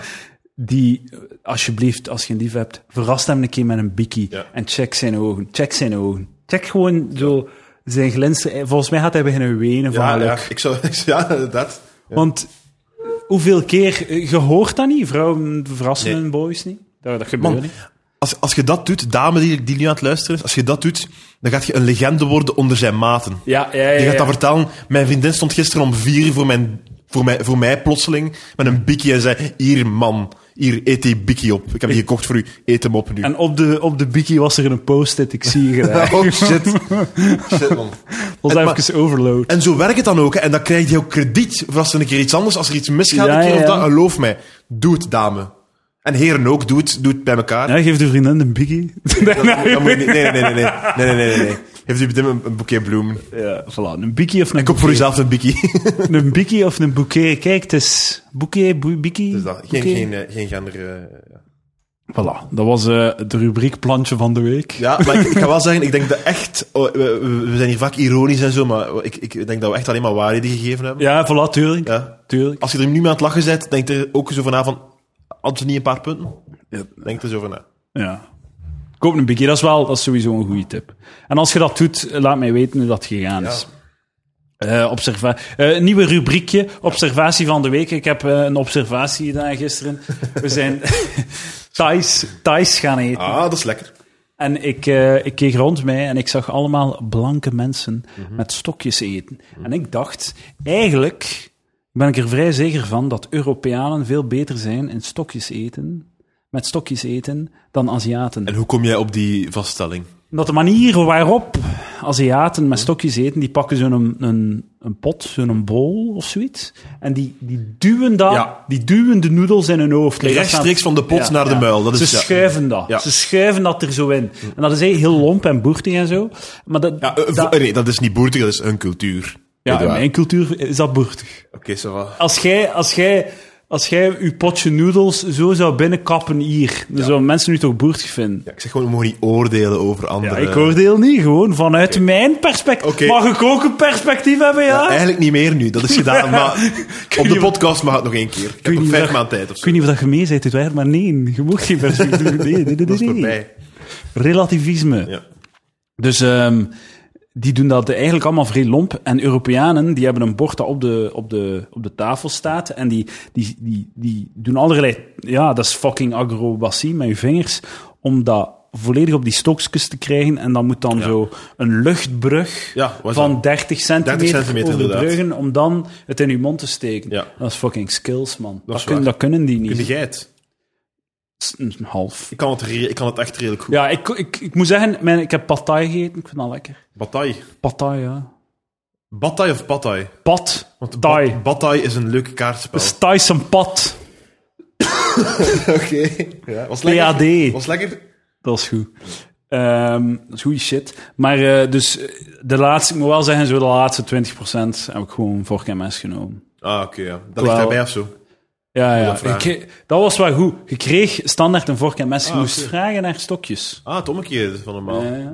Speaker 1: Die, alsjeblieft, als je een lief hebt, verrast hem een keer met een bikkie
Speaker 2: Ja.
Speaker 1: en check zijn ogen. Check zijn ogen. Check gewoon zo zijn glinster. Volgens mij gaat hij beginnen wenen van
Speaker 2: Ja,
Speaker 1: geluk.
Speaker 2: ja, ik zou, *laughs* ja, inderdaad.
Speaker 1: Want hoeveel keer, eh, je hoort dat niet, vrouwen verrassen
Speaker 2: Nee.
Speaker 1: hun boys niet. Dat, dat gebeurt
Speaker 2: Man,
Speaker 1: niet.
Speaker 2: als, als je dat doet, dame die, die nu aan het luisteren is, als je dat doet, dan gaat je een legende worden onder zijn maten.
Speaker 1: Ja, ja, ja.
Speaker 2: Je gaat dat vertellen. Mijn vriendin stond gisteren om vier uur voor, mijn, voor, mij, voor mij plotseling met een bikkie en zei: Hier, man, hier eet die bikkie op. Ik heb die gekocht voor u, eet hem op nu.
Speaker 1: En op de, op de bikkie was er een post-it, ik zie je
Speaker 2: *laughs*
Speaker 1: graag.
Speaker 2: Oh shit. shit man.
Speaker 1: was
Speaker 2: en-
Speaker 1: even overload.
Speaker 2: En zo werkt het dan ook. hè. En dan krijg je ook krediet voor als er een keer iets anders, als er iets misgaat,
Speaker 1: Ja,
Speaker 2: een keer
Speaker 1: ja,
Speaker 2: of dat.
Speaker 1: ja.
Speaker 2: Geloof mij, doe het, dame. En heren ook, doe het, doe het bij elkaar.
Speaker 1: Ja, geef de vriendin een bikkie.
Speaker 2: Dan moet je niet- nee, nee, nee, nee, nee, nee, nee, nee, nee. Heeft u meteen een, een boekje bloemen?
Speaker 1: ja, *laughs* voilà, een bikkie of een
Speaker 2: Koop voor
Speaker 1: bouquet.
Speaker 2: uzelf een bikkie.
Speaker 1: Een bikkie of een bouquet. Kijk, het is bouquet, boe- bikkie.
Speaker 2: Dus dat, *laughs* geen,
Speaker 1: bouquet.
Speaker 2: geen, eh, geen gender... eh,
Speaker 1: Voilà, dat was eh, de rubriek plantje van de week.
Speaker 2: ja, maar ik, ik ga wel zeggen, ik denk dat echt... oh, we, we- we zijn hier vaak ironisch en zo, maar ik, ik denk dat we echt alleen maar waarheden gegeven hebben.
Speaker 1: Ja, voilà, tuurlijk.
Speaker 2: Ja.
Speaker 1: tuurlijk.
Speaker 2: Als je er nu mee aan het lachen bent, denk er ook zo van na van... Hadden ze niet een paar punten?
Speaker 1: Ja.
Speaker 2: Denk er zo van ah. na.
Speaker 1: Ja. Koop een bikkie, dat is wel dat is sowieso een goede tip. En als je dat doet, laat mij weten hoe dat gegaan is. Eh, observa- eh, nieuwe rubriekje, observatie van de week. Ik heb eh, een observatie gedaan gisteren. We zijn *laughs* Thais, Thais gaan eten.
Speaker 2: Ah, dat is lekker.
Speaker 1: En ik, eh, ik keek rond mij en ik zag allemaal blanke mensen met stokjes eten. En ik dacht, eigenlijk ben ik er vrij zeker van dat Europeanen veel beter zijn in stokjes eten, met stokjes eten, dan Aziaten.
Speaker 2: En hoe kom jij op die vaststelling?
Speaker 1: Dat de manier waarop Aziaten met stokjes eten, die pakken zo'n een, een pot, zo'n bol of zoiets. En die, die, duwen dat,
Speaker 2: Ja.
Speaker 1: die duwen de noedels in hun hoofd. Like, dat
Speaker 2: Rechtstreeks
Speaker 1: staat-
Speaker 2: van de pot
Speaker 1: Ja,
Speaker 2: naar de
Speaker 1: ja.
Speaker 2: muil. Dat is,
Speaker 1: Ze
Speaker 2: ja.
Speaker 1: schuiven dat.
Speaker 2: Ja.
Speaker 1: Ze schuiven dat er zo in. En dat is heel heel lomp en boertig en zo. Maar dat,
Speaker 2: Ja, eh, vo-
Speaker 1: dat-
Speaker 2: nee, dat is niet boertig, dat is een cultuur.
Speaker 1: ja, in
Speaker 2: Eduard.
Speaker 1: mijn cultuur is dat boertig.
Speaker 2: Oké, zo va.
Speaker 1: Als jij, als jij, als jij je potje noedels zo zou binnenkappen hier, dan zouden mensen nu toch boertig vinden.
Speaker 2: Ja, ik zeg gewoon, we mogen niet oordelen over
Speaker 1: Ja,
Speaker 2: anderen.
Speaker 1: ik oordeel niet, gewoon vanuit mijn perspectief.
Speaker 2: eh, Oké.
Speaker 1: Mag ik ook een perspectief hebben, ja?
Speaker 2: Eigenlijk niet meer nu, dat
Speaker 1: *laughs*
Speaker 2: is gedaan. Maar op
Speaker 1: niet
Speaker 2: de
Speaker 1: of-
Speaker 2: podcast mag het nog één keer. Ik heb
Speaker 1: niet
Speaker 2: nog
Speaker 1: of
Speaker 2: vijf
Speaker 1: dat-
Speaker 2: maanden tijd of
Speaker 1: Ik
Speaker 2: zo. *laughs*
Speaker 1: weet niet of dat je mee bent, maar nee, je mocht geen perspectief. Nee, nee, nee, nee,
Speaker 2: Dat is
Speaker 1: nee.
Speaker 2: voorbij.
Speaker 1: relativisme.
Speaker 2: Ja.
Speaker 1: Dus ehm, die doen dat eigenlijk allemaal vrij lomp. En Europeanen, die hebben een bord dat op de, op de, op de tafel staat. En die, die, die, die doen allerlei... Ja, dat is fucking acrobatie met je vingers. Om dat volledig op die stokjes te krijgen. En dan moet dan zo een luchtbrug
Speaker 2: Ja, wat
Speaker 1: van
Speaker 2: dan?
Speaker 1: 30 centimeter,
Speaker 2: 30 centimeter,
Speaker 1: overbruggen. Om dan het in je mond te steken.
Speaker 2: Ja.
Speaker 1: Dat is fucking skills, man. Dat,
Speaker 2: is
Speaker 1: kun-
Speaker 2: waar.
Speaker 1: dat kunnen die niet.
Speaker 2: Kun jij het?
Speaker 1: Een half.
Speaker 2: Ik kan het, re- ik kan het echt redelijk goed.
Speaker 1: Ja, ik, ik, ik moet zeggen, mijn, ik heb pad thai gegeten. Ik vind dat lekker.
Speaker 2: Bataille.
Speaker 1: Pad thai, ja.
Speaker 2: Bataille of Bataille?
Speaker 1: Pad
Speaker 2: Want
Speaker 1: thai.
Speaker 2: Ba- Bataille is een leuk kaartspel.
Speaker 1: is Thais een pad.
Speaker 2: *laughs* Oké. Ja, was
Speaker 1: PAD.
Speaker 2: Was lekker?
Speaker 1: Dat is goed. Ehm, dat is goede shit. Maar eh, dus eh, de laatste, ik moet wel zeggen, zo de laatste 20% heb ik gewoon vork en mes genomen.
Speaker 2: Ah, oké, ja. Dat
Speaker 1: Wel-
Speaker 2: ligt daarbij of zo.
Speaker 1: Ja, ja.
Speaker 2: dat vragen.
Speaker 1: Ik- dat was wel goed. Je kreeg standaard een vork en mes. Je
Speaker 2: Ah,
Speaker 1: moest
Speaker 2: oké.
Speaker 1: vragen naar stokjes.
Speaker 2: Ah, het omgekeerde van normaal.
Speaker 1: Ja, ja.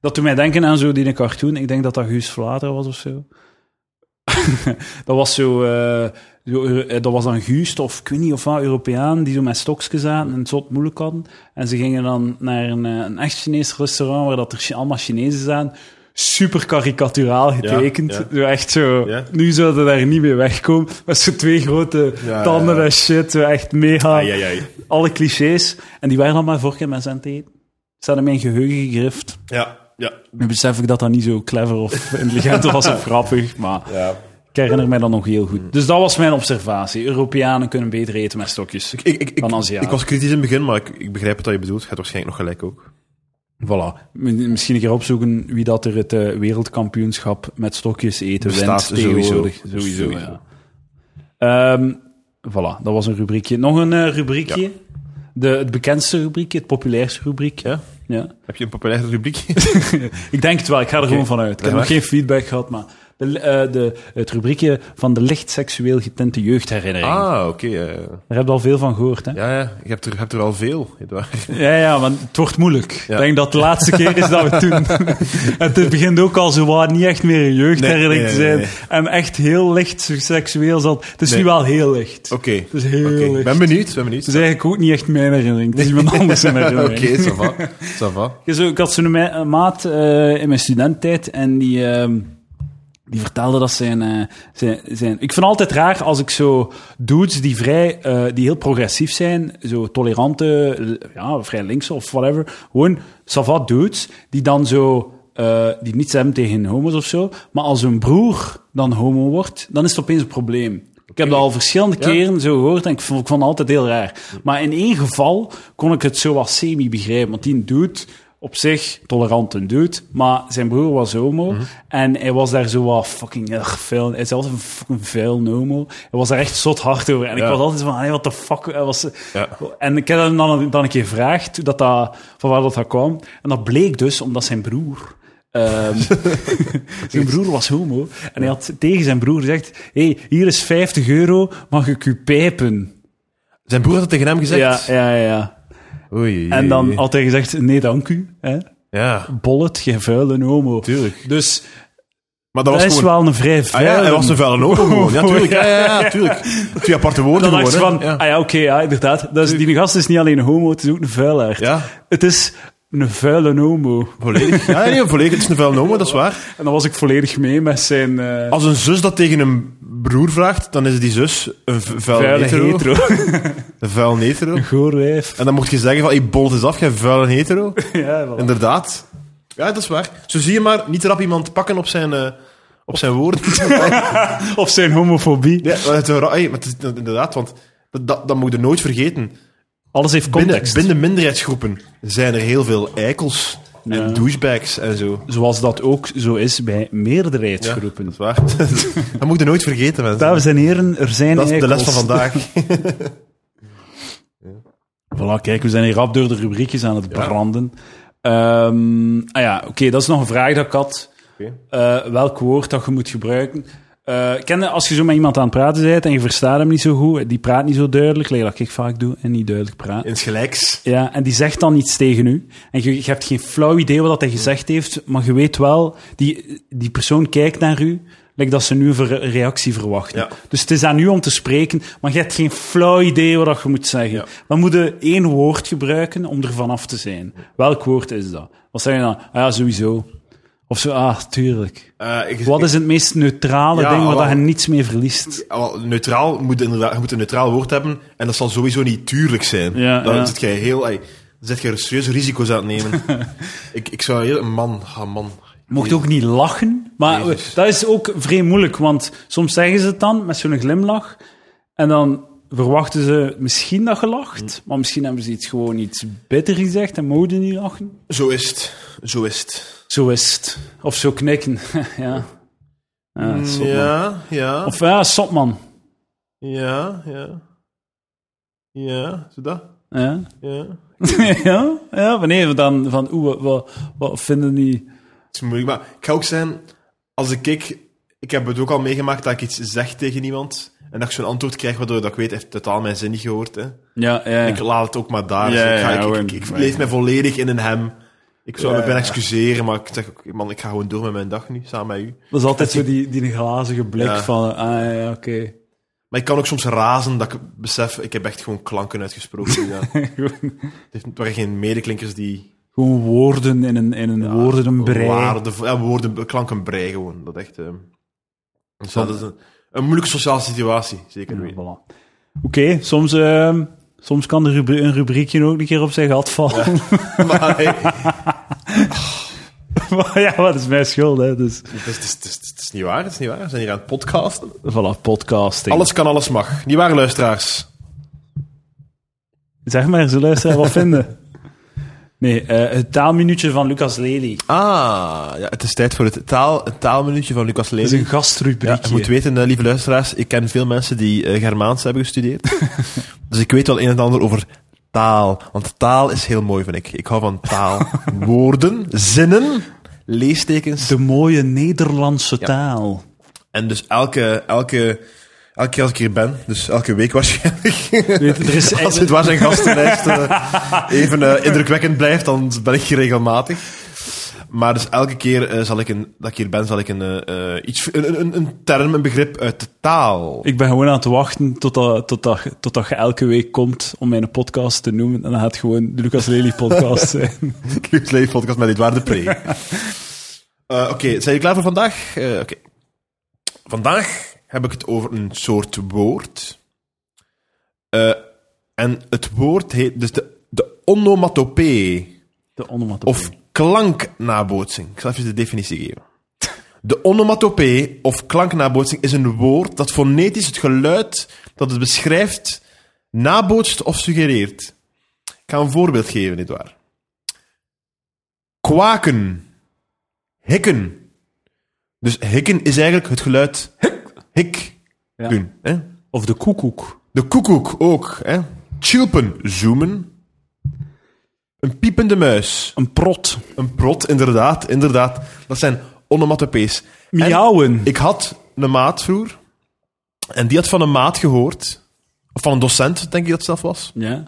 Speaker 1: dat doet mij denken aan zo die een cartoon. Ik denk dat dat Guus Vlater was of zo. *laughs* dat was zo, eh, zo, eh, dat was dan Guus of ik weet niet of wat, Europeaan, die zo met stokjes zaten en het zot moeilijk hadden. En ze gingen dan naar een, eh, een echt Chinees restaurant waar dat er Chi- allemaal Chinezen zaten. Super karikaturaal getekend.
Speaker 2: ja.
Speaker 1: Zo echt zo,
Speaker 2: Ja.
Speaker 1: nu zouden daar niet meer wegkomen. Met zo'n twee grote
Speaker 2: Ja,
Speaker 1: tanden
Speaker 2: ja, ja.
Speaker 1: en shit. Zo echt mega
Speaker 2: Ai, ai, ai.
Speaker 1: alle clichés. En die waren dan maar vork en mes aan het eten. Ze hadden mijn geheugen gegrift.
Speaker 2: Ja, ja.
Speaker 1: Nu besef ik dat dat niet zo clever of *laughs* intelligent was of grappig, maar
Speaker 2: ja.
Speaker 1: ik herinner mij dat nog heel goed. Dus dat was mijn observatie. Europeanen kunnen beter eten met stokjes.
Speaker 2: Ik, ik, ik,
Speaker 1: Van Aziaten.
Speaker 2: ik was kritisch in het begin, maar ik, ik begrijp het dat je bedoelt. Je hebt waarschijnlijk nog gelijk ook.
Speaker 1: Voilà. M- Misschien een keer opzoeken wie dat er het eh, wereldkampioenschap met stokjes eten
Speaker 2: Bestaat
Speaker 1: wint.
Speaker 2: sowieso.
Speaker 1: tegenwoordig. Sowieso,
Speaker 2: Sowieso.
Speaker 1: ja. Ehm, voilà, dat was een rubriekje. Nog een eh, rubriekje. De, het bekendste rubriekje, het populairste rubriekje.
Speaker 2: Ja?
Speaker 1: ja.
Speaker 2: Heb je een populaire *laughs* rubriek?
Speaker 1: Ik denk het wel, ik ga er gewoon vanuit. Ik heb
Speaker 2: Ja,
Speaker 1: nog
Speaker 2: maar-
Speaker 1: geen feedback gehad, maar de, eh, de, het rubriekje van de licht seksueel getinte jeugdherinnering.
Speaker 2: ah, oké. eh.
Speaker 1: Daar heb je al veel van gehoord, hè? Ja,
Speaker 2: ja, ja. Je hebt er, je hebt er al veel. *laughs* Edouard.
Speaker 1: ja, want het wordt moeilijk. Ik
Speaker 2: Ja.
Speaker 1: denk dat het de laatste
Speaker 2: *laughs*
Speaker 1: keer is dat we het doen. En het begint ook al zo wat niet echt meer een jeugdherinnering
Speaker 2: Nee, nee,
Speaker 1: te zijn.
Speaker 2: nee,
Speaker 1: En echt heel licht seksueel zal Het is
Speaker 2: Nee.
Speaker 1: nu wel heel licht.
Speaker 2: Oké.
Speaker 1: Het is heel
Speaker 2: Oké.
Speaker 1: licht.
Speaker 2: Ik ben benieuwd, ben benieuwd.
Speaker 1: Het is eigenlijk ook niet echt mijn herinnering. Het is
Speaker 2: *laughs*
Speaker 1: iemand anders zijn herinnering.
Speaker 2: Oké, ça va. Ça va.
Speaker 1: Ik, zo, ik had zo'n me- een maat eh, in mijn studententijd en die, ehm, die vertelde dat zijn, eh, zijn, zijn... Ik vind altijd raar als ik zo dudes die, vrij, eh, die heel progressief zijn, zo tolerante, l- ja, vrij links of whatever, gewoon savat dudes, die dan zo... eh, die niets hebben tegen homo's of zo, maar als hun broer dan homo wordt, dan is het opeens een probleem. Ik heb dat al verschillende
Speaker 2: Ja.
Speaker 1: keren zo gehoord en ik vond, ik vond het altijd heel raar. Maar in één geval kon ik het zo wat semi begrijpen. Want die dude, op zich tolerant een dude, maar zijn broer was homo.
Speaker 2: Mhm.
Speaker 1: En hij was daar zo wat fucking erg vuil. Hij is altijd een fucking vuil homo. Hij was daar echt zot hard over. En ik
Speaker 2: Ja.
Speaker 1: was altijd van, hey, wat de fuck. Hij was,
Speaker 2: Ja.
Speaker 1: En ik heb hem dan, dan een keer gevraagd hoe dat dat, van waar dat, dat kwam. En dat bleek dus omdat zijn broer... ehm, zijn broer was homo. En hij had tegen zijn broer gezegd: hey, hier is 50 euro, mag ik u pijpen?
Speaker 2: Zijn broer had het tegen hem gezegd?
Speaker 1: Ja, ja, ja.
Speaker 2: Oei, oei,
Speaker 1: En dan
Speaker 2: oei.
Speaker 1: had hij gezegd: nee, dank u. Hè?
Speaker 2: Ja,
Speaker 1: Bollet, geen vuile homo.
Speaker 2: tuurlijk.
Speaker 1: Dus
Speaker 2: Maar dat
Speaker 1: dat
Speaker 2: was
Speaker 1: is
Speaker 2: gewoon...
Speaker 1: wel een vrij
Speaker 2: Ah
Speaker 1: vuile.
Speaker 2: ja, hij was een vuile ogen gewoon. Ja,
Speaker 1: *laughs*
Speaker 2: tuurlijk. Ja, ja, ja, tuurlijk. Twee aparte woorden
Speaker 1: dan dacht je
Speaker 2: gewoon,
Speaker 1: van,
Speaker 2: hè. Ja.
Speaker 1: ah ja, oké, ja, inderdaad. Dus die gast is niet alleen een homo, het is ook een vuilaard.
Speaker 2: ja,
Speaker 1: Het is een vuile homo.
Speaker 2: volledig. Ja, nee, volledig. Het is een vuile ogen, dat is waar.
Speaker 1: En dan was ik volledig mee met zijn eh,
Speaker 2: Als een zus dat tegen een broer vraagt, dan is die zus een vu- vuile
Speaker 1: vuile
Speaker 2: hetero.
Speaker 1: hetero.
Speaker 2: *laughs* Een vuile hetero.
Speaker 1: Goor wijf.
Speaker 2: En dan mocht je zeggen van, ik bol het eens af, jij vuile hetero.
Speaker 1: Ja, voilà.
Speaker 2: Inderdaad. Ja, dat is waar. Zo zie je maar, niet rap iemand pakken op zijn, eh, op zijn woorden.
Speaker 1: Of zijn homofobie.
Speaker 2: Ja, maar het, is wel ra- hey, maar het is inderdaad, want dat, dat, dat moet je nooit vergeten.
Speaker 1: Alles heeft
Speaker 2: Binnen,
Speaker 1: context.
Speaker 2: binnen minderheidsgroepen zijn er heel veel eikels
Speaker 1: Ja.
Speaker 2: en douchebags en zo.
Speaker 1: Zoals dat ook zo is bij
Speaker 2: Ja,
Speaker 1: meerderheidsgroepen.
Speaker 2: dat is waar. *laughs* dat moet je nooit vergeten, mensen.
Speaker 1: Dames en heren, er zijn
Speaker 2: dat is de les
Speaker 1: eikels.
Speaker 2: van vandaag.
Speaker 1: *laughs* Voilà, kijk, we zijn hier rap door de rubriekjes aan het branden. Ehm, ah ja, oké, dat is nog een vraag dat ik had.
Speaker 2: Oké.
Speaker 1: Eh, welk woord dat je moet gebruiken. Eh, ken je, als je zo met iemand aan het praten bent en je verstaat hem niet zo goed, die praat niet zo duidelijk, like dat ik vaak doe, en niet duidelijk praat.
Speaker 2: Insgelijks.
Speaker 1: Ja, en die zegt dan iets tegen u. En je, je hebt geen flauw idee wat dat hij gezegd heeft, maar je weet wel, die, die persoon kijkt naar u like dat ze nu voor een reactie verwachten.
Speaker 2: Ja.
Speaker 1: Dus het is aan u om te spreken, maar je hebt geen flauw idee wat dat je moet zeggen.
Speaker 2: Ja.
Speaker 1: Dan moet je één woord gebruiken om er vanaf te zijn. Welk woord is dat? Wat zeg je dan? Ah ja, sowieso. Of zo, ah, tuurlijk.
Speaker 2: Eh, ik-
Speaker 1: Wat is het meest neutrale
Speaker 2: Ja,
Speaker 1: ding waar dat
Speaker 2: wel.
Speaker 1: je niets mee verliest?
Speaker 2: Ah, wel, neutraal moet inderdaad, je moet een neutraal woord hebben en dat zal sowieso niet tuurlijk zijn.
Speaker 1: Ja,
Speaker 2: dan
Speaker 1: ja.
Speaker 2: zit jij heel, ey, dan zit jij er serieuze risico's aan het
Speaker 1: *laughs*
Speaker 2: nemen. ik, ik zou heel, man, ah, man.
Speaker 1: Je mocht ook niet lachen. Maar
Speaker 2: Jezus.
Speaker 1: dat is ook vrij moeilijk, want soms zeggen ze het dan met zo'n glimlach. En dan verwachten ze misschien dat je lacht, maar misschien hebben ze iets gewoon iets bitter gezegd en mogen niet lachen.
Speaker 2: Zo is het, zo is het.
Speaker 1: Zo is het. Of zo knikken. *laughs* ja. Mm, Ja, sop, man.
Speaker 2: Ja, ja,
Speaker 1: Of ja, sop man.
Speaker 2: ja, ja. Ja, zo dat.
Speaker 1: Ja. *laughs*
Speaker 2: Ja.
Speaker 1: ja, ja, wanneer we dan van, oeh, wat, wat, wat vinden die...
Speaker 2: Het is moeilijk, maar ik ga ook zijn, als ik ik, ik heb het ook al meegemaakt dat ik iets zeg tegen iemand en dat ik zo'n antwoord krijg waardoor dat ik weet, hij heeft totaal mijn zin niet gehoord. Hè.
Speaker 1: Ja, ja.
Speaker 2: Ik laat het ook maar daar.
Speaker 1: Ja,
Speaker 2: Dus ik, ga-
Speaker 1: ja,
Speaker 2: ik-
Speaker 1: gewoon-
Speaker 2: ik, ik, leef mij volledig in een hem. Ik zou
Speaker 1: Ja,
Speaker 2: me bijna
Speaker 1: ja.
Speaker 2: excuseren, maar ik zeg ook, man, ik ga gewoon door met mijn dag nu, samen met u.
Speaker 1: dat is altijd zo die, die glazige blik
Speaker 2: Ja.
Speaker 1: van, ah ja, oké. *laughs*
Speaker 2: Maar ik kan ook soms razen dat ik besef, ik heb echt gewoon klanken
Speaker 1: *laughs*
Speaker 2: uitgesproken. Ja. Het
Speaker 1: Gewoon-
Speaker 2: heeft- Het waren geen medeklinkers die
Speaker 1: Gewoon woorden in een, in een woordenbrei.
Speaker 2: waarde, ja, woorden, klanken brei gewoon. Dat echt. ehm. dus ja, dat is een, een moeilijke sociale situatie, zeker
Speaker 1: Ja,
Speaker 2: weten. *laughs*
Speaker 1: voilà. Oké, soms, ehm, soms kan de rubri- een rubriekje ook een keer op zijn gat vallen.
Speaker 2: Maar hey,
Speaker 1: Maar *laughs* ja, wat is mijn schuld, hè. Dus,
Speaker 2: het, is, het, is, het is- het is niet waar, het is niet waar. We zijn hier aan het podcasten.
Speaker 1: voilà, podcasting.
Speaker 2: Alles kan, alles mag. Niet waar, luisteraars?
Speaker 1: Zeg maar, ze luisteren eh,
Speaker 2: *laughs*
Speaker 1: wat vinden. Nee, eh, het taalminuutje van Lucas Lely.
Speaker 2: Ah, ja, het is tijd voor het, taal, het taalminuutje van Lucas Lely.
Speaker 1: Dat is een
Speaker 2: Ja, je
Speaker 1: gastrubriekje.
Speaker 2: moet weten, eh, lieve luisteraars, ik ken veel mensen die eh, Germaans hebben
Speaker 1: *laughs*
Speaker 2: gestudeerd. dus ik weet wel een en ander over taal. Want taal is heel mooi, vind ik. Ik hou van
Speaker 1: *laughs*
Speaker 2: taal. Woorden, zinnen, leestekens.
Speaker 1: De mooie Nederlandse
Speaker 2: *laughs*
Speaker 1: taal.
Speaker 2: En dus elke, elke, elke keer als ik hier ben, dus elke week waarschijnlijk,
Speaker 1: Weet je, er is
Speaker 2: als het waar zijn gastenlijst eh, even eh, indrukwekkend blijft, dan ben ik hier regelmatig. Maar dus elke keer eh, zal ik een, dat ik hier ben, zal ik een, eh, eh, iets, een, een, een term, een begrip uit de taal.
Speaker 1: Ik ben gewoon aan het wachten totdat, totdat, totdat je elke week komt om mijn podcast te noemen. En dan gaat het gewoon de Lucas Lely
Speaker 2: *laughs*
Speaker 1: podcast zijn.
Speaker 2: Clubs Leven podcast met Edouard de Pre. Eh, Oké, zijn jullie klaar voor vandaag? Eh, Oké. Vandaag heb ik het over een soort woord. Eh, en het woord heet dus de, de onomatopee.
Speaker 1: De onomatopee.
Speaker 2: Of klanknabootsing. Ik zal even de definitie geven. De onomatopee of klanknabootsing is een woord dat fonetisch het geluid dat het beschrijft nabootst of suggereert. Ik ga een voorbeeld geven, nietwaar? Kwaken. Hikken. Dus hikken is eigenlijk het geluid hik, hik
Speaker 1: Ja.
Speaker 2: doen. Hè?
Speaker 1: Of de koekoek.
Speaker 2: De koekoek ook. Hè? Chilpen, zoomen. Een piepende muis.
Speaker 1: Een prot.
Speaker 2: Een prot, inderdaad, inderdaad. Dat zijn onomatopees. En
Speaker 1: Miauwen.
Speaker 2: ik had een maat vroeger, en die had van een maat gehoord, of van een docent, denk ik dat het zelf was,
Speaker 1: Ja.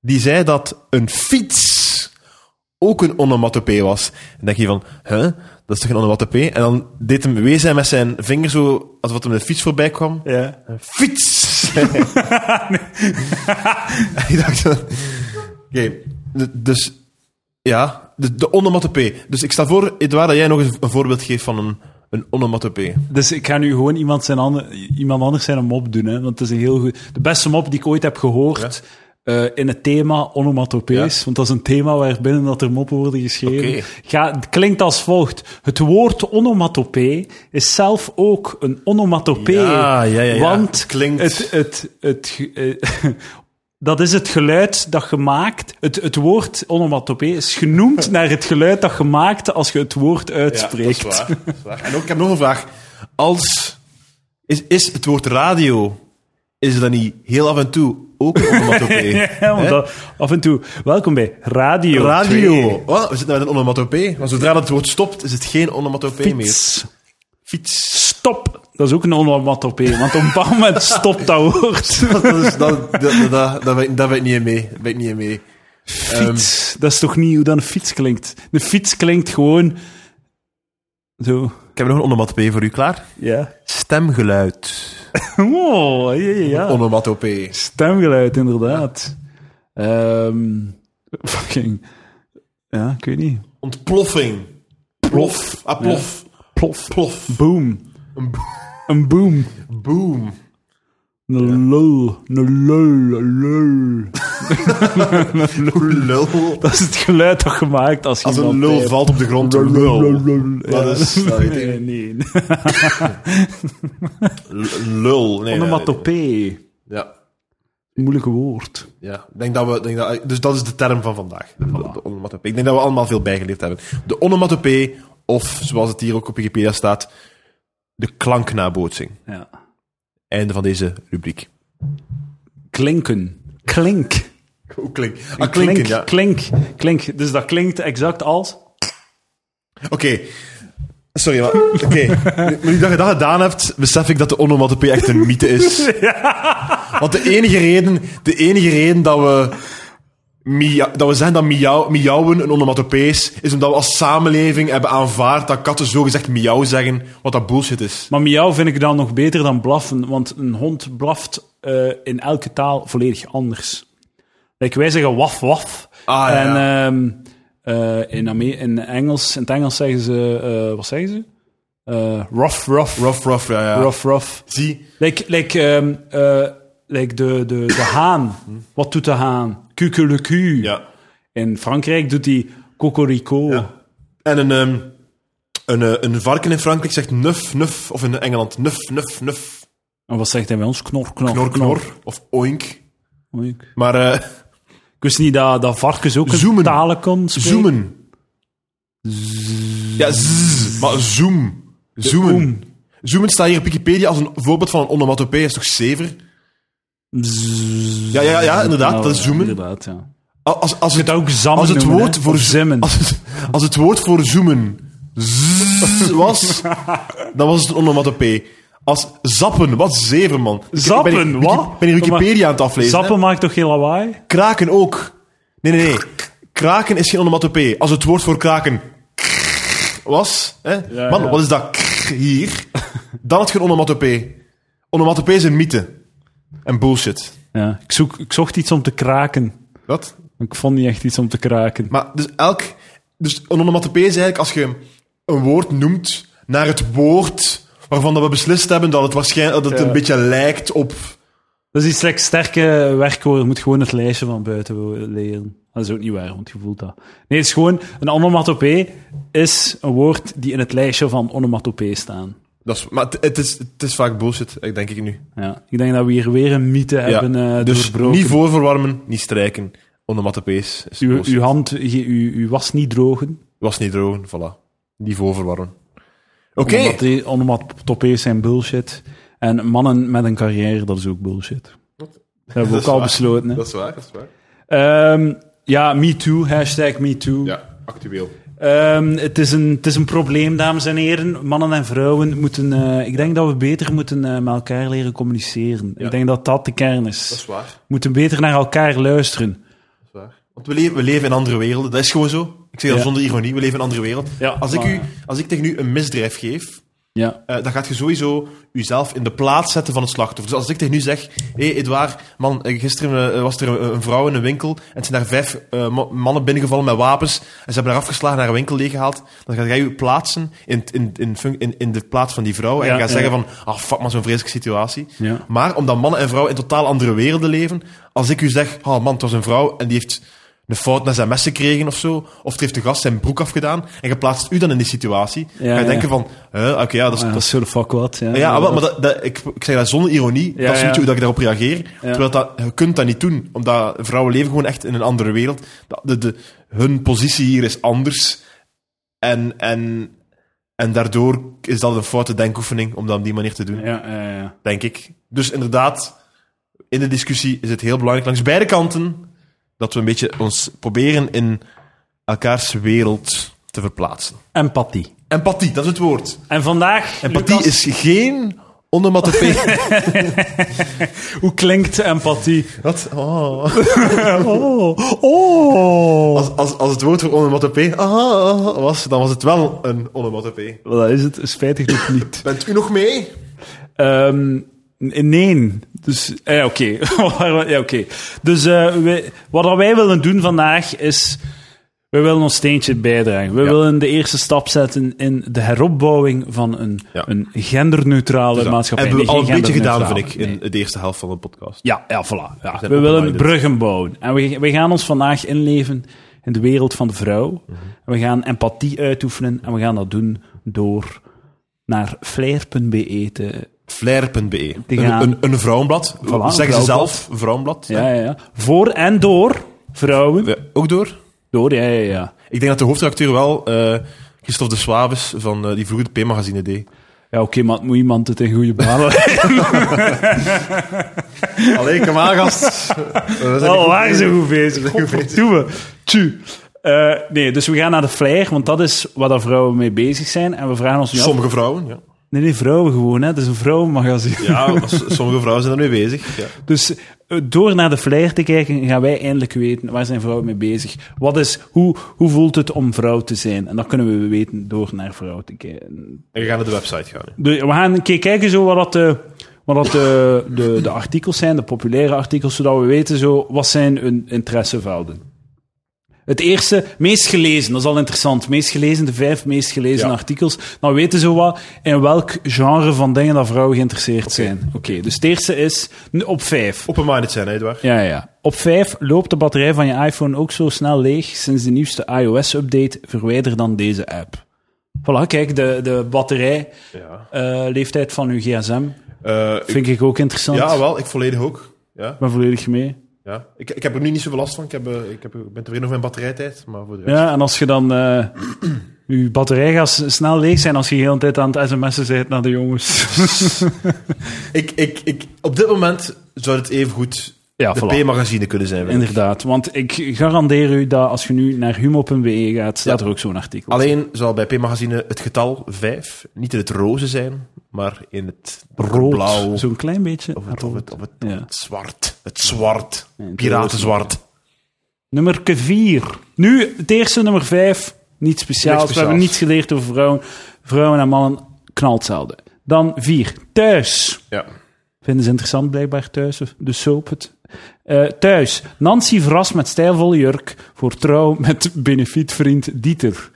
Speaker 2: die zei dat een fiets ook een onomatopee was. En dan denk je van, hè, dat is toch een onomatopee? En dan deed hem wees hij met zijn vinger zo, alsof hem een fiets voorbij kwam.
Speaker 1: ja.
Speaker 2: Een Fiets! En ik dacht van... Oké, d- dus... Ja, de, de onomatopee. Dus ik stel voor, Edouard, dat jij nog eens een voorbeeld geeft van een, een onomatopee.
Speaker 1: Dus ik ga nu gewoon iemand, zijn ander, iemand anders zijn een mop doen. Hè? Want het is een heel goed, de beste mop die ik ooit heb gehoord eh, in het thema onomatopees. Want dat is een thema waarbinnen dat er moppen worden geschreven.
Speaker 2: Oké.
Speaker 1: Ga, het klinkt als volgt. Het woord onomatopee is zelf ook een onomatopee.
Speaker 2: Ja, ja, ja, ja.
Speaker 1: Want
Speaker 2: Het klinkt-
Speaker 1: het, het, het, ge- eh, *laughs* dat is het geluid dat je maakt. Het, het woord onomatopee is
Speaker 2: *laughs*
Speaker 1: genoemd naar het geluid dat je maakt als je het woord uitspreekt.
Speaker 2: En ook, ik heb nog een vraag. Als... Is, is het woord radio, is dat niet heel af en toe ook een onomatopee?
Speaker 1: Ja, *laughs* want
Speaker 2: Hè?
Speaker 1: dat- af en toe. Welkom bij Radio.
Speaker 2: Radio. Wat? we zitten met een onomatopee. Maar zodra dat het woord stopt, is het geen onomatopee meer.
Speaker 1: Fiets.
Speaker 2: Fiets.
Speaker 1: Stop. Dat is ook een onomatopee, want op een bepaald
Speaker 2: *laughs*
Speaker 1: moment stopt dat woord.
Speaker 2: dat, is, dat, dat, dat, dat, dat, weet- dat weet ik niet mee. Dat weet ik niet mee. Ehm.
Speaker 1: Fiets. dat is toch niet hoe dan een fiets klinkt? Een fiets klinkt gewoon Zo.
Speaker 2: Ik heb nog een onomatopee voor u klaar.
Speaker 1: Ja. *laughs*
Speaker 2: Stemgeluid.
Speaker 1: Oh, ja, ja,
Speaker 2: Ah.
Speaker 1: ja.
Speaker 2: Onomatopee.
Speaker 1: Stemgeluid, inderdaad. Ehm, fucking... Ja, ik weet niet.
Speaker 2: Ontploffing. Plof. Ah, plof.
Speaker 1: Plof.
Speaker 2: Plof.
Speaker 1: Boom.
Speaker 2: Een bo-
Speaker 1: Een boom.
Speaker 2: boom.
Speaker 1: Een lul. Een lul. Een lul.
Speaker 2: *laughs* Lul.
Speaker 1: Dat is het geluid dat gemaakt als je
Speaker 2: Als een
Speaker 1: iemand
Speaker 2: lul
Speaker 1: typt.
Speaker 2: valt op de grond.
Speaker 1: Lul, lul, lul,
Speaker 2: Lul.
Speaker 1: lul.
Speaker 2: Dat
Speaker 1: Ja.
Speaker 2: is- dat weet ik.
Speaker 1: Nee, nee.
Speaker 2: L- Lul. Nee, nee,
Speaker 1: Onomatopee.
Speaker 2: nee. Ja.
Speaker 1: Moeilijke woord.
Speaker 2: Ja, ik denk dat we, denk dat, dus dat is de term van vandaag. De, de onomatopee. Ik denk dat we allemaal veel bijgeleerd hebben. De onomatopee, of zoals het hier ook op Wikipedia staat, de klanknabootsing.
Speaker 1: Ja.
Speaker 2: Einde van deze rubriek.
Speaker 1: Klinken. Klink.
Speaker 2: Hoe klink? Ah, klinken,
Speaker 1: klink,
Speaker 2: ja.
Speaker 1: klink, klink. Dus dat klinkt exact als...
Speaker 2: Oké. Sorry, maar... Oké. Nu- Nu dat je dat gedaan hebt, besef ik dat de onomatopee echt een mythe is. Want de enige reden, de enige reden dat we... mia- dat we zeggen dat miauw, miauwen een onomatopee is, is omdat we als samenleving hebben aanvaard dat katten zogezegd miauw zeggen, wat dat bullshit is.
Speaker 1: Maar miauw vind ik dan nog beter dan blaffen, want een hond blaft eh, in elke taal volledig anders. Like, wij zeggen waf waf.
Speaker 2: Ah, ja,
Speaker 1: en
Speaker 2: ja.
Speaker 1: ehm, eh, in, Ame- in, Engels, in het Engels zeggen ze... eh, wat zeggen ze? Eh rough, rough, rough,
Speaker 2: Rough, rough, ja, ja.
Speaker 1: rough. rough.
Speaker 2: Zie,
Speaker 1: Like, like, ehm, eh, like de, de, de haan. Wat doet de haan? Kukeleku.
Speaker 2: ja.
Speaker 1: In Frankrijk doet hij cocorico.
Speaker 2: En een, ehm, een, eh, een varken in Frankrijk zegt nuf, nuf, of in Engeland nuf, nuf, nuf,
Speaker 1: En wat zegt hij bij ons? Knor, knor,
Speaker 2: knor,
Speaker 1: knor.
Speaker 2: knor, of oink.
Speaker 1: Oei, Ik
Speaker 2: Maar eh,
Speaker 1: ik wist niet dat, dat varkens ook een
Speaker 2: Zoomen.
Speaker 1: talen kon spreken.
Speaker 2: zoomen. Ja, zzz, maar zoom. Zoomen. Zoomen staat hier op Wikipedia als een voorbeeld van een onomatopee, is toch zever? Ja, ja, ja, inderdaad, dat is zoomen.
Speaker 1: Inderdaad, Nou, ja.
Speaker 2: Als, als, het,
Speaker 1: ook zammen
Speaker 2: als het
Speaker 1: noemen,
Speaker 2: woord
Speaker 1: hè?
Speaker 2: voor
Speaker 1: Of zemmen.
Speaker 2: Als het, als het woord voor zoomen
Speaker 1: *laughs*
Speaker 2: zzz was, dan was het een onomatopee. Als zappen, wat zeven man. Ik- ik
Speaker 1: Zappen,
Speaker 2: ben, hier-
Speaker 1: wat?
Speaker 2: Ik ben hier Wikipedia aan het aflezen.
Speaker 1: Zappen
Speaker 2: hè.
Speaker 1: maakt toch geen lawaai?
Speaker 2: Kraken ook. Nee, nee, nee. Kraken is geen onomatopee. Als het woord voor kraken was, hè?
Speaker 1: Ja,
Speaker 2: man,
Speaker 1: ja.
Speaker 2: wat is dat hier? Dan had je een onomatopee. Onomatopee is een mythe. En bullshit.
Speaker 1: Ja, ik, zoek, ik zocht iets om te kraken.
Speaker 2: Wat?
Speaker 1: Ik vond niet echt iets om te kraken.
Speaker 2: Maar dus elk... Dus een onomatopee is eigenlijk als je een woord noemt naar het woord waarvan dat we beslist hebben dat het waarschijnlijk dat het
Speaker 1: Ja.
Speaker 2: een beetje lijkt op...
Speaker 1: Dat is iets slechts sterke werkwoorden. Je moet gewoon het lijstje van buiten leren. Dat is ook niet waar, want je voelt dat. Nee, het is gewoon... Een onomatopee is een woord die in het lijstje van onomatopee staan.
Speaker 2: Dat is, maar het, het is, het is vaak bullshit, eh, denk ik nu.
Speaker 1: Ja. Ik denk dat we hier weer een mythe hebben eh
Speaker 2: dus
Speaker 1: doorbroken.
Speaker 2: niet voorverwarmen, niet strijken. Onomatopees is
Speaker 1: uw,
Speaker 2: bullshit.
Speaker 1: uw hand, je- uw, uw was niet drogen.
Speaker 2: Was niet drogen, voilà. Niet voorverwarmen. Oké. Oké.
Speaker 1: Onomatopees- Onomatopees zijn bullshit. En mannen met een carrière, dat is ook bullshit. Dat hebben we ook
Speaker 2: *laughs* Dat is
Speaker 1: al
Speaker 2: waar.
Speaker 1: besloten. Hè?
Speaker 2: Dat is waar, dat is waar.
Speaker 1: Ehm, ja, MeToo, hashtag MeToo.
Speaker 2: Ja, actueel.
Speaker 1: Ehm, het, is een, het is een probleem, dames en heren. Mannen en vrouwen moeten... eh, ik denk dat we beter moeten eh, met elkaar leren communiceren.
Speaker 2: Ja.
Speaker 1: Ik denk dat dat de kern is.
Speaker 2: Dat is waar,
Speaker 1: We moeten beter naar elkaar luisteren.
Speaker 2: dat is waar. Want we leven, we leven in andere werelden, dat is gewoon zo. Ik zeg dat
Speaker 1: Ja.
Speaker 2: zonder ironie, we leven in een andere wereld.
Speaker 1: Ja,
Speaker 2: Als ik,
Speaker 1: maar-
Speaker 2: u, als ik tegen u een misdrijf geef,
Speaker 1: Ja.
Speaker 2: eh, dan gaat je sowieso jezelf in de plaats zetten van het slachtoffer. Dus als ik tegen u zeg, hé hey Edouard, man, eh, gisteren eh, was er een, een vrouw in een winkel en het zijn daar vijf eh, ma- mannen binnengevallen met wapens en ze hebben haar afgeslagen en haar winkel leeggehaald, dan ga jij je plaatsen in, in, in, func- in, in de plaats van die vrouw en
Speaker 1: Ja,
Speaker 2: je gaat
Speaker 1: ja.
Speaker 2: zeggen van, ah fuck man, zo'n vreselijke situatie.
Speaker 1: Ja.
Speaker 2: Maar omdat mannen en vrouwen in totaal andere werelden leven, als ik u zeg, oh man, het was een vrouw en die heeft een fout naar zijn mes gekregen of zo, of het heeft de gast zijn broek afgedaan en je plaatst u dan in die situatie,
Speaker 1: Ja,
Speaker 2: ga je
Speaker 1: ja.
Speaker 2: denken van, eh, oké, ja, dat is,
Speaker 1: Ah, dat is zo de fuck wat. Ja,
Speaker 2: ja, maar, maar dat, dat- ik, ik zeg dat zonder ironie.
Speaker 1: Ja,
Speaker 2: dat is niet
Speaker 1: ja.
Speaker 2: hoe dat ik daarop reageer. Terwijl dat, je kunt dat niet doen, omdat vrouwen leven gewoon echt in een andere wereld. Dat- De, de, hun positie hier is anders. En, en, en daardoor is dat een foute denkoefening om dat op die manier te doen,
Speaker 1: ja, ja, ja.
Speaker 2: denk ik. Dus inderdaad, in de discussie is het heel belangrijk langs beide kanten dat we een beetje ons proberen in elkaars wereld te verplaatsen.
Speaker 1: Empathie.
Speaker 2: Empathie, dat is het woord.
Speaker 1: En vandaag,
Speaker 2: Empathie
Speaker 1: Lucas,
Speaker 2: is geen Onomatopee.
Speaker 1: *laughs* Hoe klinkt empathie?
Speaker 2: Wat? Oh.
Speaker 1: *laughs* Oh, oh.
Speaker 2: Als, als, als het woord voor onomatopee ah, was, dan was het wel een onomatopee.
Speaker 1: Dat is het spijtig nog niet.
Speaker 2: Bent u nog mee?
Speaker 1: Ehm, n- nee. Dus, eh, ja, oké. *laughs* Waar we- ja, oké. Dus eh, wij- wat dat wij willen doen vandaag is... We willen ons steentje bijdragen. We
Speaker 2: Ja.
Speaker 1: willen de eerste stap zetten in de heropbouwing van een,
Speaker 2: Ja. Dus
Speaker 1: een genderneutrale maatschappij.
Speaker 2: Hebben we
Speaker 1: Nee,
Speaker 2: al een
Speaker 1: geen
Speaker 2: beetje gedaan, vind
Speaker 1: genderneutraal.
Speaker 2: ik,
Speaker 1: Nee.
Speaker 2: in de eerste helft van de podcast.
Speaker 1: Ja, ja, voilà. Ja.
Speaker 2: zijn
Speaker 1: We willen
Speaker 2: open-minded.
Speaker 1: bruggen bouwen. En we, we gaan ons vandaag inleven in de wereld van de vrouw.
Speaker 2: Mhm.
Speaker 1: En we gaan empathie uitoefenen. En we gaan dat doen door naar flair.be te...
Speaker 2: Flair.be.
Speaker 1: Die
Speaker 2: E. Een,
Speaker 1: gaan-
Speaker 2: een, een vrouwenblad. zeggen ze
Speaker 1: vrouwenblad.
Speaker 2: zelf, vrouwenblad.
Speaker 1: Ja, ja, ja. Voor en door vrouwen.
Speaker 2: Ja, Ook door.
Speaker 1: Door, ja, ja, ja.
Speaker 2: Ik denk dat de hoofdredacteur wel eh Christophe de Swabes van eh, die vroeger de P-magazine deed.
Speaker 1: Ja, oké, maar het moet iemand het in goede *laughs* banen
Speaker 2: Allee, kom aan, *laughs* gast.
Speaker 1: Oh, waar zijn goed bezig? Godverdomme. Tju. Eh, nee, dus we gaan naar de flair, want dat is waar dat vrouwen mee bezig zijn. En we vragen ons nu af-
Speaker 2: Sommige vrouwen, ja.
Speaker 1: Nee, nee, vrouwen gewoon, hè. Het is een vrouwenmagazine.
Speaker 2: Ja, maar s- sommige vrouwen zijn ermee bezig. Ja.
Speaker 1: Dus eh, door naar de flair te kijken, gaan wij eindelijk weten waar zijn vrouwen mee bezig. Wat is, hoe, hoe voelt het om vrouw te zijn? En dat kunnen we weten door naar vrouw te kijken.
Speaker 2: En we gaan naar de website gaan. hè.
Speaker 1: Dus we gaan een keer kijken zo wat, dat, eh, wat dat, eh, de, de artikels zijn, de populaire artikels, zodat we weten zo, wat zijn hun interessevelden. Het eerste, meest gelezen, dat is al interessant. Meest gelezen, de vijf meest gelezen
Speaker 2: Ja.
Speaker 1: artikels. Dan weten ze wat in welk genre van dingen dat vrouwen geïnteresseerd zijn. Oké, dus het eerste is n- op vijf.
Speaker 2: Open-minded zijn, hè, Edouard?
Speaker 1: Ja, ja. Op 5 loopt de batterij van je iPhone ook zo snel leeg sinds de nieuwste iOS-update. Verwijder dan deze app. Voilà, kijk, de, de batterijleeftijd
Speaker 2: Ja.
Speaker 1: Eh, leeftijd van uw gsm
Speaker 2: Eh, ik-
Speaker 1: vind ik ook interessant.
Speaker 2: ja, wel, ik volledig ook. Ja,
Speaker 1: Ik ben volledig mee.
Speaker 2: ja. Ik, ik heb er nu niet zoveel last van. Ik, heb, eh, ik, heb, ik ben tevreden over mijn batterijtijd, maar voor de rest...
Speaker 1: Ja, en als je dan... eh *clears throat* uw batterij gaat s- snel leeg zijn als je de hele tijd aan het sms'en bent naar de jongens.
Speaker 2: Ik, ik, ik, op dit moment zou het even goed
Speaker 1: ja,
Speaker 2: de
Speaker 1: voilà.
Speaker 2: P-magazine kunnen zijn. vind
Speaker 1: *laughs*
Speaker 2: ik.
Speaker 1: Inderdaad, want ik garandeer u dat als je nu naar humo.be gaat, staat
Speaker 2: Ja.
Speaker 1: er ook zo'n artikel.
Speaker 2: Alleen zal bij P-magazine het getal 5 niet in het roze zijn, maar in het
Speaker 1: rood,
Speaker 2: blauw
Speaker 1: zo'n klein beetje
Speaker 2: of het, of het, of het,
Speaker 1: Ja.
Speaker 2: het zwart. Het zwart.
Speaker 1: Nee, het
Speaker 2: Piratenzwart.
Speaker 1: Nummer 4. Nu, het eerste nummer 5. Niet speciaal.
Speaker 2: Niks speciaals.
Speaker 1: We hebben niets geleerd over vrouwen. Vrouwen en mannen knalt zelden. Dan 4. Thuis.
Speaker 2: Ja.
Speaker 1: Vinden ze interessant blijkbaar thuis. of De soap het. Eh, thuis. Nancy verrast met stijlvolle jurk voor trouw met benefietvriend Dieter.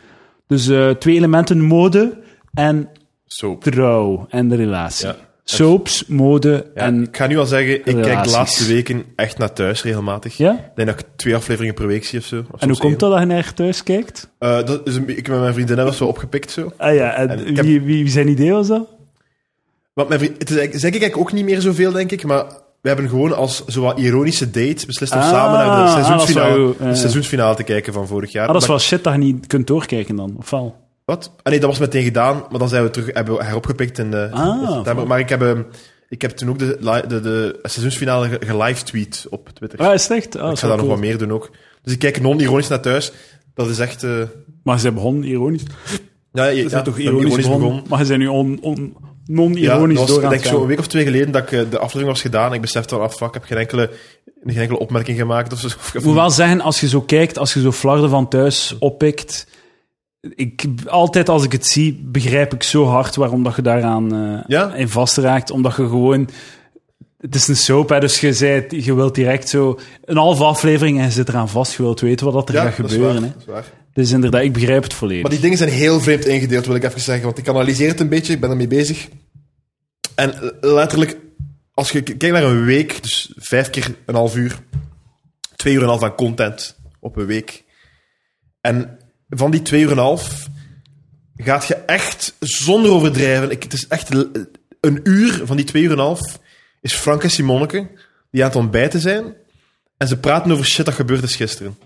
Speaker 1: Dus eh, twee elementen mode en
Speaker 2: Soap.
Speaker 1: trouw en de relatie.
Speaker 2: Ja.
Speaker 1: Soaps, mode
Speaker 2: Ja,
Speaker 1: en...
Speaker 2: ik ga nu al zeggen, ik kijk de
Speaker 1: relaties.
Speaker 2: laatste weken echt naar thuis regelmatig.
Speaker 1: Ja?
Speaker 2: Ik denk dat ik twee afleveringen per week zie of zo. of
Speaker 1: En
Speaker 2: soms
Speaker 1: hoe komt
Speaker 2: één.
Speaker 1: dat dat je naar thuis kijkt?
Speaker 2: Eh, dat is een, ik met mijn vriendin hebben zo opgepikt zo.
Speaker 1: Ah ja, en,
Speaker 2: En ik
Speaker 1: wie,
Speaker 2: heb-
Speaker 1: wie, wie zijn idee was dat? Ah,
Speaker 2: Want mijn vriend, het is eigenlijk, zeg ik eigenlijk ook niet meer zoveel, denk ik, maar we hebben gewoon als zowat ironische date beslist om
Speaker 1: Ah,
Speaker 2: samen naar
Speaker 1: ah,
Speaker 2: de
Speaker 1: dat is
Speaker 2: seizoensfinale,
Speaker 1: wel goed, ja,
Speaker 2: de
Speaker 1: ja.
Speaker 2: seizoensfinale te kijken van vorig jaar.
Speaker 1: Ah, dat is
Speaker 2: Maar-
Speaker 1: wel shit dat je niet kunt doorkijken dan, of wel?
Speaker 2: Wat? Ah, nee, dat was meteen gedaan, maar dan zijn we terug hebben we heropgepikt in, eh,
Speaker 1: Ah,
Speaker 2: in september.
Speaker 1: voilà.
Speaker 2: Maar ik heb, ehm, ik heb toen ook de, li- de, de seizoensfinale ge- gelivetweet op Twitter.
Speaker 1: Ah, is het echt? Ah,
Speaker 2: ik ga daar nog wat meer doen ook. Dus ik kijk non-ironisch naar thuis. Dat is echt... eh,
Speaker 1: Maar ze begonnen ironisch. Ze
Speaker 2: Ja, je,
Speaker 1: zijn
Speaker 2: ja,
Speaker 1: toch
Speaker 2: ik ben
Speaker 1: ironisch, begonnen, maar ze zijn nu on, on, non-ironisch
Speaker 2: Ja, dat was,
Speaker 1: door aan
Speaker 2: denk
Speaker 1: het
Speaker 2: ik zo een
Speaker 1: gaan.
Speaker 2: week of twee geleden dat ik eh, de aflevering was gedaan. Ik besefte al af, fuck, ik heb geen enkele, geen enkele opmerking gemaakt. Of zo. *laughs* Of-
Speaker 1: Ik moet wel zeggen, als je zo kijkt, als je zo flarden van thuis oppikt... Ik, altijd als ik het zie, begrijp ik zo hard waarom dat je daaraan eh,
Speaker 2: Ja?
Speaker 1: in vastraakt. Omdat je gewoon... Het is een soap, hè, dus je, zei, het, je wilt direct zo... Een halve aflevering en je zit eraan vast. Je wilt weten wat dat er
Speaker 2: ja,
Speaker 1: gaat
Speaker 2: dat is
Speaker 1: gebeuren.
Speaker 2: waar,
Speaker 1: Hè.
Speaker 2: dat is waar.
Speaker 1: Dus inderdaad, ik begrijp het volledig.
Speaker 2: Maar die dingen zijn heel vreemd ingedeeld, wil ik even zeggen. Want ik analyseer het een beetje, ik ben ermee bezig. En eh, letterlijk, als je k- kijkt naar een week, dus vijf keer een half uur, twee uur en een half aan content op een week. En van die twee uur en een half gaat je echt zonder overdrijven. Ik, het is echt l- een uur van die twee uur en een half is Frank en Simoneke die aan het ontbijten zijn. En ze praten over shit dat gebeurd is gisteren.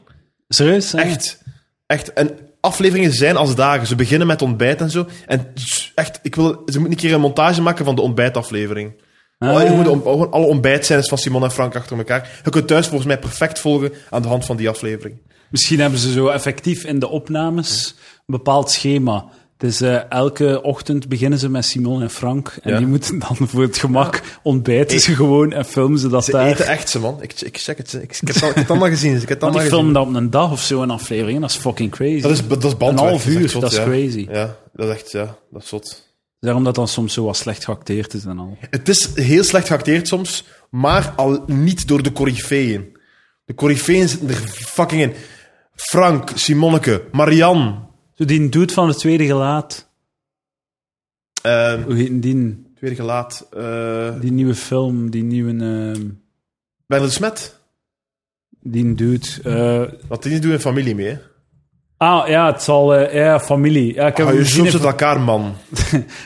Speaker 1: Serieus? hè?
Speaker 2: Echt. Echt. En afleveringen zijn als dagen. Ze beginnen met ontbijt en zo. En s- echt, ik wil, ze moeten een keer een montage maken van de ontbijtaflevering.
Speaker 1: Ah,
Speaker 2: Alle- Oh, je
Speaker 1: ja.
Speaker 2: moet om- gewoon alle ontbijtscènes van Simon en Frank achter elkaar. Je kunt thuis volgens mij perfect volgen aan de hand van die aflevering.
Speaker 1: Misschien hebben ze zo effectief in de opnames een bepaald schema Dus eh, elke ochtend beginnen ze met Simon en Frank. En
Speaker 2: Ja.
Speaker 1: die moeten dan voor het gemak ontbijten ze gewoon en filmen ze dat
Speaker 2: Ze
Speaker 1: daar.
Speaker 2: eten echt ze, man. Ik, ik check het. Ik, ik, heb, het al- ik heb het allemaal gezien. dus Ik heb het
Speaker 1: *laughs* Want
Speaker 2: allemaal
Speaker 1: die
Speaker 2: gezien.
Speaker 1: filmen dat op een dag of zo een aflevering. en Dat is fucking crazy.
Speaker 2: Dat is, dat is
Speaker 1: een
Speaker 2: bandwerk.
Speaker 1: half
Speaker 2: dat is echt
Speaker 1: uur,
Speaker 2: zot,
Speaker 1: dat is
Speaker 2: ja.
Speaker 1: crazy.
Speaker 2: Ja, dat is echt, ja, dat is zot.
Speaker 1: Dus Daarom dat dan soms zo wat slecht geacteerd is en al.
Speaker 2: Het is heel slecht geacteerd soms, maar al niet door de coryfeeën. De coryfeeën zitten er fucking in. Frank, Simonneke, Marian.
Speaker 1: Zo die doet van het tweede gelaat.
Speaker 2: ehm,
Speaker 1: Hoe heet die?
Speaker 2: tweede gelaat. eh
Speaker 1: Die nieuwe film, die nieuwe... ehm,
Speaker 2: Bernard de Smet.
Speaker 1: die dude... eh,
Speaker 2: Want die doen in familie mee. hè.
Speaker 1: ah, ja, het zal... eh, ja, familie. Ja, ik heb
Speaker 2: Hou
Speaker 1: hem
Speaker 2: Ah, je
Speaker 1: gezien
Speaker 2: soms
Speaker 1: in-
Speaker 2: uit elkaar, man.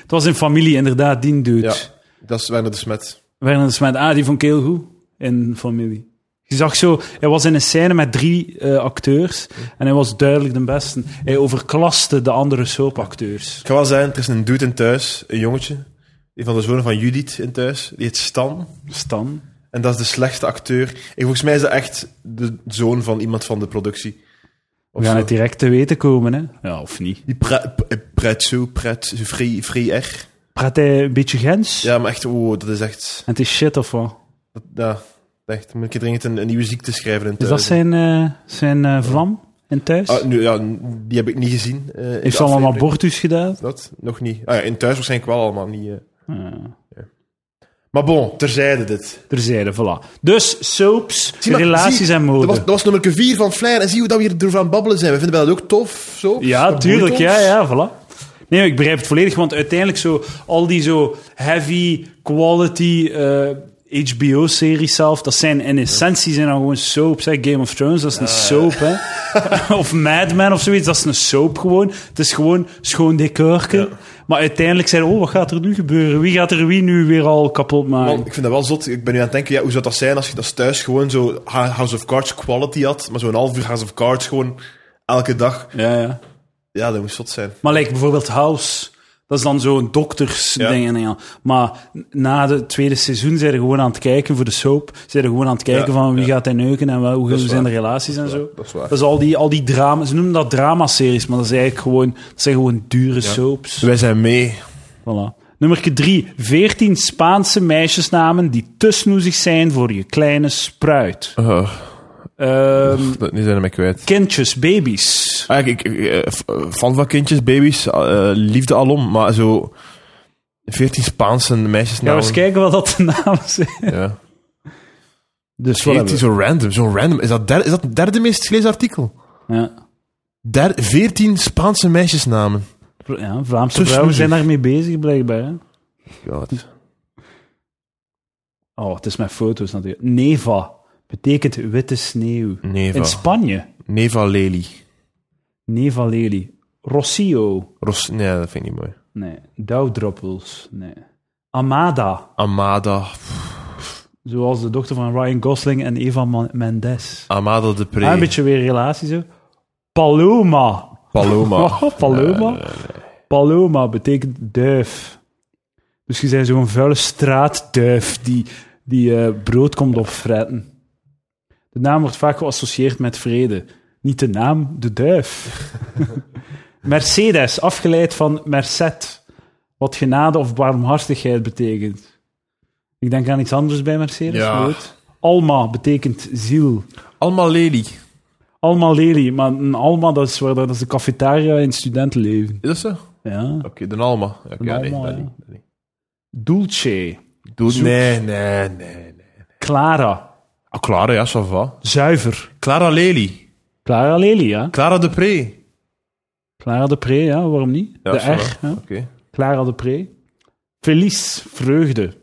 Speaker 1: Het was in familie, inderdaad, die dude.
Speaker 2: Ja, dat is Bernard de Smet.
Speaker 1: Werner Smet, ah, die vond ik heel goed in familie. Je zag zo, hij was in een scène met drie eh, acteurs en hij was duidelijk de beste. Hij overklaste de andere soapacteurs.
Speaker 2: Ik ga wel zijn, er is een dude in thuis, een jongetje. Die van de zoon van Judith in thuis. Die heet Stan.
Speaker 1: Stan.
Speaker 2: En dat is de slechtste acteur. En volgens mij is dat echt de zoon van iemand van de productie.
Speaker 1: We
Speaker 2: Of
Speaker 1: gaan
Speaker 2: zo.
Speaker 1: het direct te weten komen, hè? Ja, of niet?
Speaker 2: Die pre- pre- pretzo, pret, free, free R.
Speaker 1: Praat hij een beetje Gens?
Speaker 2: Ja, maar echt, oh, dat is echt...
Speaker 1: En het is shit of wat?
Speaker 2: Dat, ja, echt, moet ik dringend een, een nieuwe ziekte schrijven in
Speaker 1: Is
Speaker 2: thuis.
Speaker 1: dat zijn, eh, zijn eh, vlam in thuis?
Speaker 2: Ah, nu, ja, die heb ik niet gezien. eh, in de
Speaker 1: Heeft ze allemaal
Speaker 2: aflevering.
Speaker 1: abortus gedaan?
Speaker 2: Dat? Nog niet. Ah ja, in thuis waarschijnlijk wel allemaal niet. eh.
Speaker 1: Ja.
Speaker 2: Maar bon, terzijde dit.
Speaker 1: Terzijde, voilà. Dus soaps,
Speaker 2: Zie maar,
Speaker 1: relaties
Speaker 2: zie,
Speaker 1: en mode.
Speaker 2: Dat was, dat was nummer 4 van Flair. En zie hoe dat we hier erover aan het babbelen zijn. We vinden wel dat ook tof, zo.
Speaker 1: Ja,
Speaker 2: Dat
Speaker 1: tuurlijk.
Speaker 2: boeit ons.
Speaker 1: Ja, ja, voilà. Nee, maar ik begrijp het volledig, want uiteindelijk zo al die zo heavy quality eh, HBO-series zelf, dat zijn in essentie zijn dan gewoon soaps. Hè. Game of Thrones, dat is een soap. Hè. *laughs* of Mad Men of zoiets, dat is een soap gewoon. Het is gewoon schoon decorken. Maar uiteindelijk zijn oh, wat gaat er nu gebeuren? Wie gaat er wie nu weer al kapot maken?
Speaker 2: Man, ik vind dat wel zot. Ik ben nu aan het denken, ja, hoe zou dat zijn als je dat thuis gewoon zo House of Cards quality had, maar zo'n half uur House of Cards gewoon elke dag.
Speaker 1: Ja, ja.
Speaker 2: Ja, dat moet zot zijn.
Speaker 1: Maar like bijvoorbeeld House, dat is dan zo'n doktersding.
Speaker 2: Ja.
Speaker 1: en ja. Maar na het tweede seizoen zijn er gewoon aan het kijken voor de soap. Zijn er gewoon aan het kijken
Speaker 2: Ja,
Speaker 1: van wie gaat hij neuken en wel, hoe
Speaker 2: is
Speaker 1: zijn de
Speaker 2: waar.
Speaker 1: relaties en zo.
Speaker 2: Dat is waar.
Speaker 1: Dat is al die, al die drama, ze noemen dat dramaseries, maar dat, is eigenlijk gewoon, dat zijn gewoon dure soaps.
Speaker 2: Dus Wij zijn mee.
Speaker 1: Voilà. Nummer 3. 14 Spaanse meisjesnamen die te snoezig zijn voor je kleine spruit. Ehm,
Speaker 2: Oh, dat, nu zijn we mij kwijt.
Speaker 1: kindjes, baby's.
Speaker 2: Eigenlijk, ik, ik, eh, f- eh, fan van kindjes, baby's, eh, liefde alom, maar zo 14 Spaanse meisjes
Speaker 1: Gaan we eens kijken wat dat de namen zijn.
Speaker 2: Ja.
Speaker 1: Dus wat
Speaker 2: 14,
Speaker 1: hebben
Speaker 2: zo random, zo random. Is dat, derde, is dat het derde meest gelezen artikel?
Speaker 1: we? Ja.
Speaker 2: Der, 14 Spaanse meisjesnamen.
Speaker 1: Ja, Vlaamse
Speaker 2: Te
Speaker 1: vrouwen zijn
Speaker 2: snoezig.
Speaker 1: daarmee bezig, blijkbaar. Hè?
Speaker 2: God.
Speaker 1: Oh, het is met foto's natuurlijk. Neva betekent witte sneeuw. In
Speaker 2: Neva.
Speaker 1: Spanje,
Speaker 2: Neva Lely.
Speaker 1: Neva Lely. Rossio,
Speaker 2: Ros nee, dat vind ik niet mooi.
Speaker 1: nee. Dauwdruppels, nee. Amada,
Speaker 2: Amada.
Speaker 1: zoals de dochter van Ryan Gosling en Eva Ma- Mendes.
Speaker 2: Amada de Pre.
Speaker 1: Ah, een beetje weer relatie zo. Paloma. *laughs*
Speaker 2: Paloma.
Speaker 1: Oh, Paloma. Paloma betekent duif. Dus je bent zo'n vuile straatduif die, die eh, brood komt opfretten. De naam wordt vaak geassocieerd met vrede. Niet de naam, de duif. Mercedes, afgeleid van merced, wat genade of barmhartigheid betekent. Ik denk aan iets anders bij Mercedes.
Speaker 2: Ja.
Speaker 1: maar goed. Alma betekent ziel.
Speaker 2: Allemaal Eh, lely.
Speaker 1: Alma Lely, maar een Alma, dat is, waar, dat is de cafetaria in studentenleven.
Speaker 2: Is dat zo? Oké,
Speaker 1: Ja.
Speaker 2: de Alma. Oké,
Speaker 1: ja, nee,
Speaker 2: nee,
Speaker 1: Alma, dat ja. niet, Dulce,
Speaker 2: Nee, nee, nee. nee.
Speaker 1: Clara,
Speaker 2: Ah, Clara, ja, ça va.
Speaker 1: Zuiver.
Speaker 2: Clara Lely.
Speaker 1: Clara Lely, ja.
Speaker 2: Clara de Pre.
Speaker 1: Clara de Pre, ja, waarom niet?
Speaker 2: Ja,
Speaker 1: de
Speaker 2: ça
Speaker 1: R, ja.
Speaker 2: Oké.
Speaker 1: Clara de Pre. Felice, vreugde.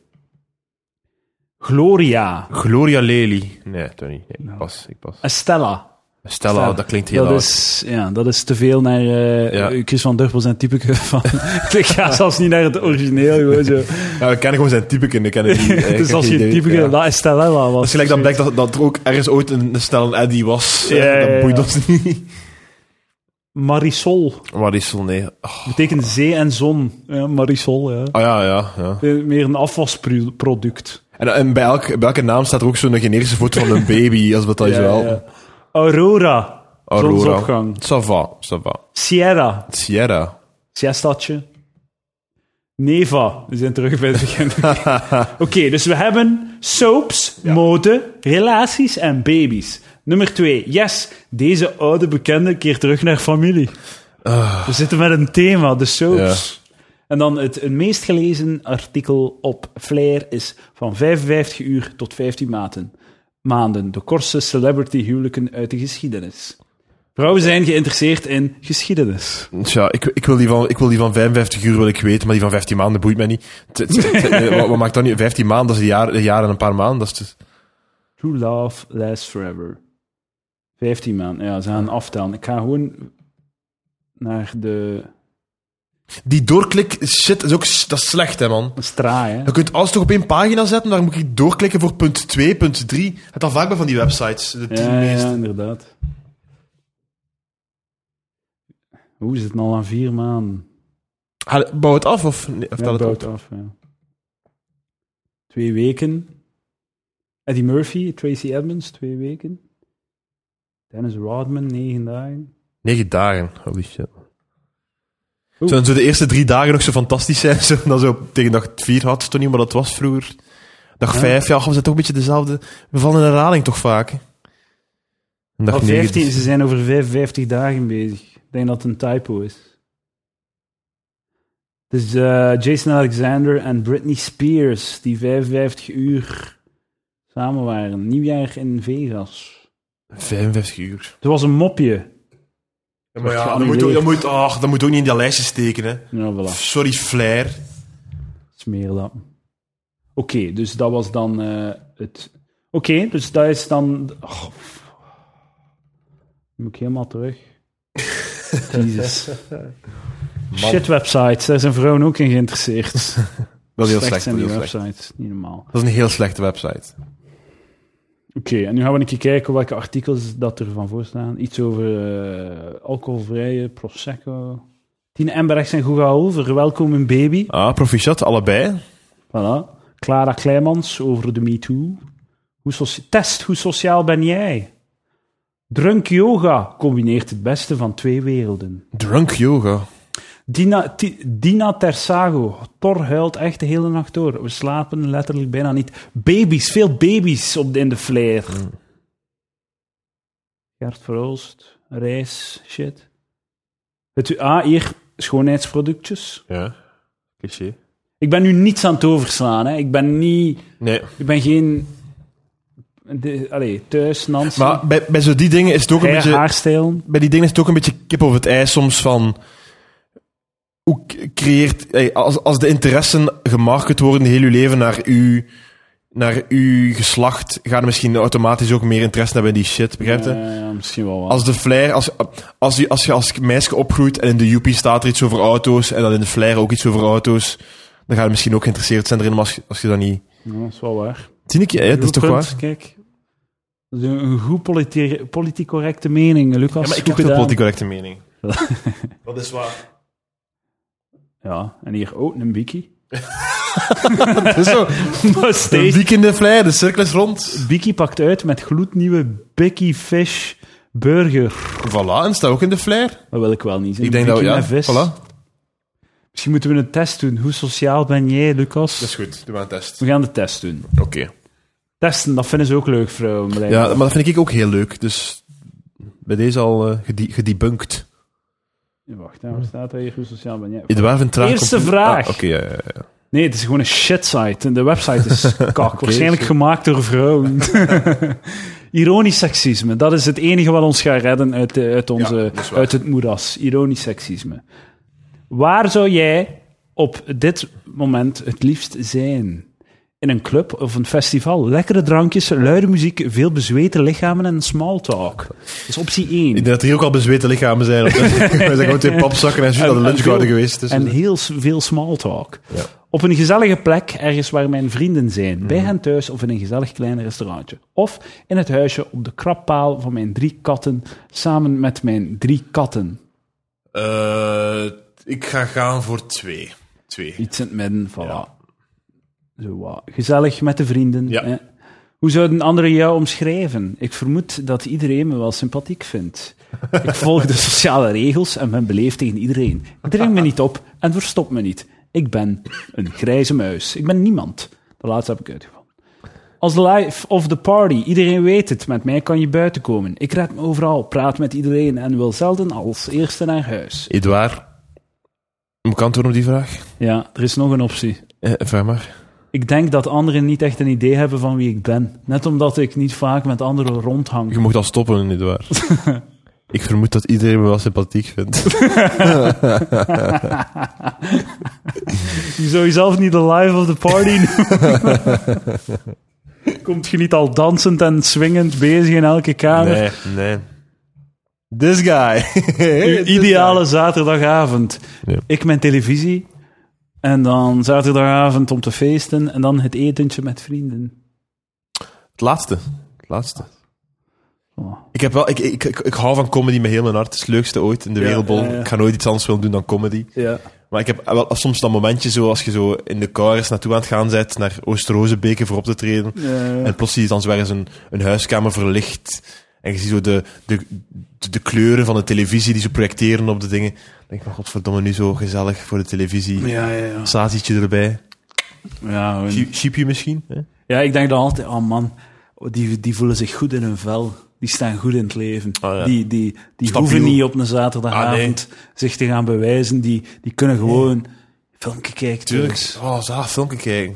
Speaker 1: Gloria,
Speaker 2: Gloria Lely. Nee, Tony. Nee, ik pas, ik pas.
Speaker 1: Estella.
Speaker 2: Stella,
Speaker 1: Nou. Stella.
Speaker 2: dat klinkt heel
Speaker 1: Dat
Speaker 2: oud.
Speaker 1: is, ja, dat is te veel naar eh,
Speaker 2: Ja.
Speaker 1: Chris van Durpels en typeke *laughs* van... Ik ga zelfs niet naar het origineel, gewoon
Speaker 2: *laughs*
Speaker 1: zo.
Speaker 2: Ja, we kennen gewoon zijn typeken. Ik
Speaker 1: *laughs*
Speaker 2: ken het niet. Ik
Speaker 1: dus
Speaker 2: heb
Speaker 1: als
Speaker 2: geen
Speaker 1: je
Speaker 2: idee,
Speaker 1: typeke...
Speaker 2: ja.
Speaker 1: La Estella was.
Speaker 2: Dat is gelijk dat blijkt dat, dat er ook ergens ooit een, een snelle Eddy was.
Speaker 1: Ja, ja, ja.
Speaker 2: Dat boeit ons niet.
Speaker 1: Marisol.
Speaker 2: Marisol, nee. Oh,
Speaker 1: Betekent zee en zon, ja, Marisol. Ja.
Speaker 2: ah, ja, ja, ja.
Speaker 1: Eh, Meer een afwasproduct.
Speaker 2: En, en bij, elk, bij elke naam staat er ook zo'n generische foto van een baby, als we dat
Speaker 1: Ja,
Speaker 2: je wel.
Speaker 1: ja. Aurora,
Speaker 2: Aurora.
Speaker 1: zonsopgang.
Speaker 2: Ça va, ça va.
Speaker 1: Sierra,
Speaker 2: Sierra.
Speaker 1: Siestatje. Neva, we zijn terug bij het begin. Oké, dus we hebben soaps, mode, relaties en baby's. Nummer twee, yes, deze oude bekende keert terug naar familie. We zitten met een thema, de soaps. En dan het meest gelezen artikel op Flair is van 55 uur tot 15 maanden. maanden. De kortste celebrity huwelijken uit de geschiedenis. Vrouwen zijn geïnteresseerd in geschiedenis.
Speaker 2: Tja, ik, ik, wil die van, ik wil die van 55 uur wil ik weten, maar die van 15 maanden boeit mij niet. Het- het- het- het- eh, wat, wat maakt dat niet? 15 maanden, dat is een jaar, een jaar en een paar maanden. Dat is dus-
Speaker 1: True Love Lasts Forever. 15 maanden. Ja, ze gaan aftellen. Ik ga gewoon naar de
Speaker 2: Die doorklik shit is ook s- dat is slecht, hè, man.
Speaker 1: straai. hè.
Speaker 2: Je kunt alles toch op één pagina zetten, daar moet ik doorklikken voor punt 2, punt 3. Het al vaak bij van die websites, de tien
Speaker 1: Ja,
Speaker 2: meest.
Speaker 1: ja, inderdaad. Hoe is het nou aan vier maanden?
Speaker 2: Ha, Bouw het af of, nee, of
Speaker 1: Ja,
Speaker 2: tel het
Speaker 1: bouwt
Speaker 2: op?
Speaker 1: af. Ja. Twee weken. Eddie Murphy, Tracy Edmonds, twee weken. Dennis Rodman, negen dagen.
Speaker 2: Negen dagen, holy shit.
Speaker 1: Oeh.
Speaker 2: Zullen zo de eerste drie dagen nog zo fantastisch zijn? Zo, dan zo tegen dag vier had het toch niet, maar dat was vroeger. Dag
Speaker 1: Ja.
Speaker 2: vijf, ja, we zijn toch een beetje dezelfde. We vallen in herhaling toch vaak. hè? En dag
Speaker 1: Al
Speaker 2: negen,
Speaker 1: 15, ze zijn over 55 dagen bezig. Ik denk dat het een typo is. Het is eh, Jason Alexander en Britney Spears die 55 uur samen waren. Nieuwjaar in Vegas.
Speaker 2: 55 uur.
Speaker 1: Het was een mopje.
Speaker 2: maar
Speaker 1: ja,
Speaker 2: ja,
Speaker 1: dat
Speaker 2: dat
Speaker 1: moet
Speaker 2: moet,
Speaker 1: ook- dat
Speaker 2: dat moet ook niet in dat lijstje steken, hè.
Speaker 1: Nou, voilà.
Speaker 2: Sorry, Flair.
Speaker 1: Smeer dat. Oké, dus dat was dan eh, het... Oké, dus dat is dan... Oh. Moet ik helemaal terug?
Speaker 2: *laughs*
Speaker 1: Jezus. Shit websites, daar zijn vrouwen ook in geïnteresseerd.
Speaker 2: *laughs* Dat is heel
Speaker 1: Slecht
Speaker 2: slecht.
Speaker 1: zijn
Speaker 2: Dat
Speaker 1: die
Speaker 2: is, heel slecht.
Speaker 1: websites. Niet normaal.
Speaker 2: dat is een heel slechte website.
Speaker 1: Oké, en nu gaan we een keer kijken welke artikels dat er van voor staan. Iets over eh, alcoholvrije, prosecco. Tine Emberrechts en Goegaal, verwelkom een baby.
Speaker 2: Ah, proficiat, allebei.
Speaker 1: Voilà. Clara Kleimans over de MeToo. Hoe soci- Test, hoe sociaal ben jij? Drunk yoga combineert het beste van twee werelden.
Speaker 2: Drunk yoga.
Speaker 1: Dina, Ti- Dina Tersago. Thor huilt echt de hele nacht door. We slapen letterlijk bijna niet. Baby's, veel baby's op de, in de flair. Gert Verhulst, reis, shit. Het, ah, hier, schoonheidsproductjes.
Speaker 2: Ja. Cliché.
Speaker 1: Ik ben nu niets aan het overslaan. Hè. Ik ben niet...
Speaker 2: Nee.
Speaker 1: Ik ben geen... De, allee, thuis, Nancy.
Speaker 2: Maar bij, bij zo die dingen is het ook een
Speaker 1: Hair,
Speaker 2: beetje...
Speaker 1: haarstijlen.
Speaker 2: bij die dingen is het ook een beetje kip over het ei soms van... Hoe k- creëert... hey, als, als de interessen gemarket worden heel uw leven naar uw, naar uw geslacht, gaan er misschien automatisch ook meer interesse hebben in die shit, begrijp je? eh,
Speaker 1: Ja, ja, misschien wel wat.
Speaker 2: Als de flair, als, als, je, als je als meisje opgroeit en in de UP staat er iets over auto's en dan in de flair ook iets over auto's, dan ga je misschien ook geïnteresseerd zijn erin, maar als, je- als je dat niet...
Speaker 1: Ja, dat is wel waar.
Speaker 2: Tien keer, hè? dat is toch
Speaker 1: Blueprint,
Speaker 2: waar?
Speaker 1: Kijk, dat is een, een goed politi- politiek correcte mening, eh, Lucas.
Speaker 2: Ja, maar ik
Speaker 1: Goed
Speaker 2: heb de
Speaker 1: gedaan.
Speaker 2: politiek correcte mening. *laughs* dat is waar.
Speaker 1: Ja, en hier ook een
Speaker 2: *laughs*
Speaker 1: biki.
Speaker 2: Dat is zo.
Speaker 1: Maar
Speaker 2: Een
Speaker 1: steeds-
Speaker 2: week in de flair, de cirkel is rond.
Speaker 1: biki pakt uit met gloednieuwe Biki Fish Burger.
Speaker 2: Voilà, en staat ook in de flair.
Speaker 1: Dat wil ik wel niet.
Speaker 2: Ik denk dat
Speaker 1: Biki
Speaker 2: we, ja,
Speaker 1: met vis.
Speaker 2: voilà.
Speaker 1: Misschien moeten we een test doen. Hoe sociaal ben jij, Lucas?
Speaker 2: goed, doe maar een test.
Speaker 1: We gaan de test doen.
Speaker 2: Oké.
Speaker 1: Testen, dat vinden ze ook leuk, vrouwen.
Speaker 2: Ja,
Speaker 1: blijkbaar.
Speaker 2: maar dat vind ik ook heel leuk, dus bij deze al eh, gedi- gedebunkt.
Speaker 1: Wacht, hè, waar staat dat hier? Hoe sociaal ben jij?
Speaker 2: Edouard vindt traag
Speaker 1: Eerste
Speaker 2: computer-
Speaker 1: vraag.
Speaker 2: Ah, Oké, ja, ja, ja.
Speaker 1: Nee, het is gewoon een shitsite. En de website
Speaker 2: *laughs*
Speaker 1: is kak. Waarschijnlijk
Speaker 2: goed.
Speaker 1: gemaakt door
Speaker 2: *laughs*
Speaker 1: vrouwen. Ironisch seksisme. Dat is het enige wat ons gaat redden uit, de- uit, onze,
Speaker 2: dat is waar.
Speaker 1: uit het moeras. Ironisch seksisme. Waar zou jij op dit moment het liefst zijn? In een club of een festival. Lekkere drankjes, luide muziek, veel bezweten lichamen en small talk. Dat is optie 1.
Speaker 2: Ik denk dat er hier ook al bezweten lichamen zijn. want
Speaker 1: *laughs*
Speaker 2: We zijn gewoon twee papzakken en zo naar de lunchgarden
Speaker 1: veel-
Speaker 2: geweest. Dus
Speaker 1: en heel s- veel small talk.
Speaker 2: Ja. Mhm.
Speaker 1: Op een gezellige plek, ergens waar mijn vrienden zijn. Bij hen thuis of in een gezellig klein restaurantje. Of in het huisje op de krappaal van mijn drie katten, samen met mijn drie katten.
Speaker 2: Eh, ik ga gaan voor twee. Twee.
Speaker 1: Iets in het midden, voilà. Zo, wat. Gezellig met de vrienden.
Speaker 2: Ja.
Speaker 1: hè. Hoe zouden anderen jou omschrijven? Ik vermoed dat iedereen me wel sympathiek vindt. Ik volg de sociale regels en ben beleefd tegen iedereen. Ik dring me niet op en verstop me niet. Ik ben een grijze muis. Ik ben niemand. De laatste heb ik uitgevonden. Als de life of the party. Iedereen weet het. Met mij kan je buiten komen. Ik red me overal, praat met iedereen en wil zelden als eerste naar huis.
Speaker 2: Edouard, moet ik antwoorden op die vraag?
Speaker 1: Ja, er is nog een optie.
Speaker 2: Eh, vraag maar.
Speaker 1: Ik denk dat anderen niet echt een idee hebben van wie ik ben. Net omdat ik niet vaak met anderen rondhang.
Speaker 2: Je mocht al stoppen, Edouard.
Speaker 1: *laughs*
Speaker 2: ik vermoed dat iedereen me wel sympathiek vindt.
Speaker 1: Je zou jezelf niet de life of the party noemen. *laughs* Komt je niet al dansend en swingend bezig in elke kamer?
Speaker 2: Nee, nee. This guy. *laughs*
Speaker 1: Uw ideale zaterdagavond.
Speaker 2: Ja.
Speaker 1: Ik mijn televisie. En dan zaterdagavond om te feesten. En dan het etentje met vrienden.
Speaker 2: Het laatste. Het laatste.
Speaker 1: Oh.
Speaker 2: Ik, heb wel, ik, ik, ik, ik hou van comedy met heel mijn hart. Het is het leukste ooit in de
Speaker 1: Ja,
Speaker 2: wereldbol.
Speaker 1: ja, ja.
Speaker 2: Ik ga nooit iets anders willen doen dan comedy.
Speaker 1: Ja.
Speaker 2: Maar ik heb wel soms dat momentje zo, als je zo in de car eens naartoe aan het gaan bent, naar Oosterrozenbeke voor op te treden. En plots zie je dan zo ergens een, een huiskamer verlicht. En je ziet zo de, de, de, de kleuren van de televisie die ze projecteren op de dingen. Dan denk ik van, godverdomme, nu zo gezellig voor de televisie.
Speaker 1: ja, ja, ja.
Speaker 2: Sazietje erbij.
Speaker 1: Ja, gewoon.
Speaker 2: Chie- Chiepje misschien. Hè?
Speaker 1: ja, ik denk dan altijd, oh man, die, die voelen zich goed in hun vel. Die staan goed in het leven.
Speaker 2: Oh, ja.
Speaker 1: Die, die, die
Speaker 2: Stabiel.
Speaker 1: hoeven niet op een zaterdagavond
Speaker 2: Ah,
Speaker 1: zich te gaan bewijzen. Die, die kunnen gewoon filmpje kijken. jongens.
Speaker 2: Oh, zo filmpje kijken.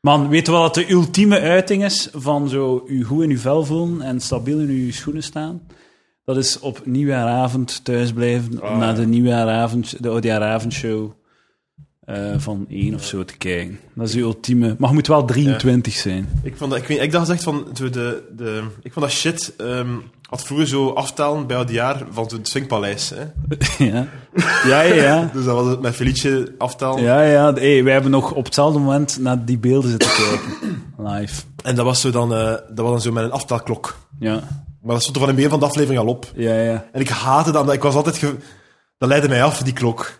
Speaker 1: Man, weet je wel dat de ultieme uiting is van zo u goed in uw vel voelen en stabiel in uw schoenen staan? Dat is op nieuwjaaravond thuisblijven
Speaker 2: Ah,
Speaker 1: om naar de nieuwjaaravond, de oudjaaravondshow eh, van één of zo te kijken. Dat is uw ultieme. Maar je moet wel 23 zijn.
Speaker 2: Ik, vond dat, ik, weet, ik dacht echt van, zo de, de, ik vond dat shit, ehm, had vroeger zo aftalen bij het jaar van het Swingpaleis. Hè?
Speaker 1: *laughs* ja, ja, ja. ja.
Speaker 2: Dus dat was het met Felice aftalen.
Speaker 1: Ja, ja. Hey, wij hebben nog op hetzelfde moment naar die beelden zitten kijken. Live.
Speaker 2: En dat was, zo dan, eh, dat was dan zo met een aftelklok.
Speaker 1: Ja,
Speaker 2: Maar dat stond er van in het begin van de aflevering al op.
Speaker 1: ja, ja.
Speaker 2: En ik haatte dat, omdat ik was altijd... Ge... Dat leidde mij af, die klok.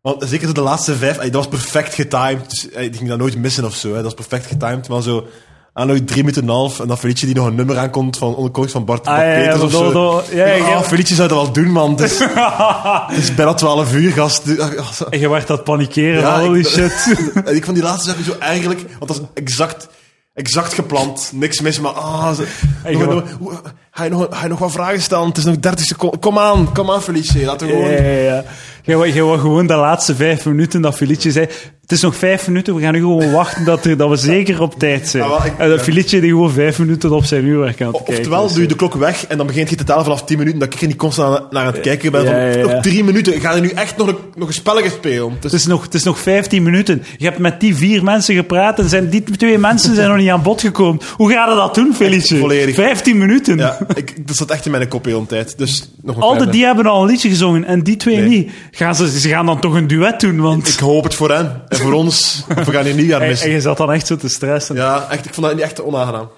Speaker 2: Want zeker zo de laatste vijf, ey, dat was perfect getimed. Dus, ey, die ging dat nooit missen of zo. Hè. Dat was perfect getimed, maar zo... Aan nog drie minuten en een half, en dan Felice die nog een nummer aankomt van onderkoos van Bart
Speaker 1: Ah,
Speaker 2: Bart
Speaker 1: ja, ja,
Speaker 2: Peters of
Speaker 1: bedoel,
Speaker 2: zo.
Speaker 1: bedoel, ja,
Speaker 2: Ik
Speaker 1: ja,
Speaker 2: dacht,
Speaker 1: ja.
Speaker 2: ah, Felice zou dat wel doen, man. Het
Speaker 1: *laughs*
Speaker 2: is, het is bijna twaalf uur, gast. Ah, Ja,
Speaker 1: En je werd dat panikeren. holy
Speaker 2: ik,
Speaker 1: shit.
Speaker 2: en *laughs* ik vond die laatste zaak zo eigenlijk, want dat is exact, exact gepland. Niks mis, maar ah, ze- nog,
Speaker 1: gewoon-
Speaker 2: nog- hoe- ga, je nog, ga je nog wat vragen stellen? Het is nog 30 seconden. Kom aan, kom aan, Felice. Laten
Speaker 1: *laughs*
Speaker 2: we
Speaker 1: Ja,
Speaker 2: gewoon.
Speaker 1: ja, ja, ja. Jij wou- jij wou gewoon de laatste vijf minuten dat Filietje zei... Het is nog vijf minuten, we gaan nu gewoon wachten dat, er, dat we zeker op tijd zijn.
Speaker 2: Ja, wel, ik-
Speaker 1: en dat
Speaker 2: ja.
Speaker 1: Filietje die gewoon vijf minuten op zijn uurwerk aan het kijken
Speaker 2: Oftewel
Speaker 1: was.
Speaker 2: doe je de klok weg en dan begint je te tellen vanaf 10 minuten dat ik er niet constant aan- naar aan het kijken ben.
Speaker 1: Ja,
Speaker 2: Van,
Speaker 1: ja, ja.
Speaker 2: Nog 3 minuten, ga je nu echt nog een, nog een spelletje spelen? Dus
Speaker 1: Het is, nog, het is nog 15 minuten. Je hebt met die vier mensen gepraat en zijn, die twee mensen zijn nog niet aan bod gekomen. Hoe ga je dat doen, Felice?
Speaker 2: Volledig.
Speaker 1: 15 minuten.
Speaker 2: ja, ik, dat zat echt in mijn kop de hele tijd. Dus nog een
Speaker 1: Al de,
Speaker 2: kleine-
Speaker 1: die hebben al een liedje gezongen en die twee
Speaker 2: Nee.
Speaker 1: niet. Gaan ze, ze gaan dan toch een duet doen, want...
Speaker 2: Ik hoop het voor hen en voor
Speaker 1: *laughs*
Speaker 2: ons. want We gaan hier niet aan
Speaker 1: en, en
Speaker 2: missen.
Speaker 1: je zat dan echt zo te stressen.
Speaker 2: Ja, echt, ik vond dat echt onaangenaam.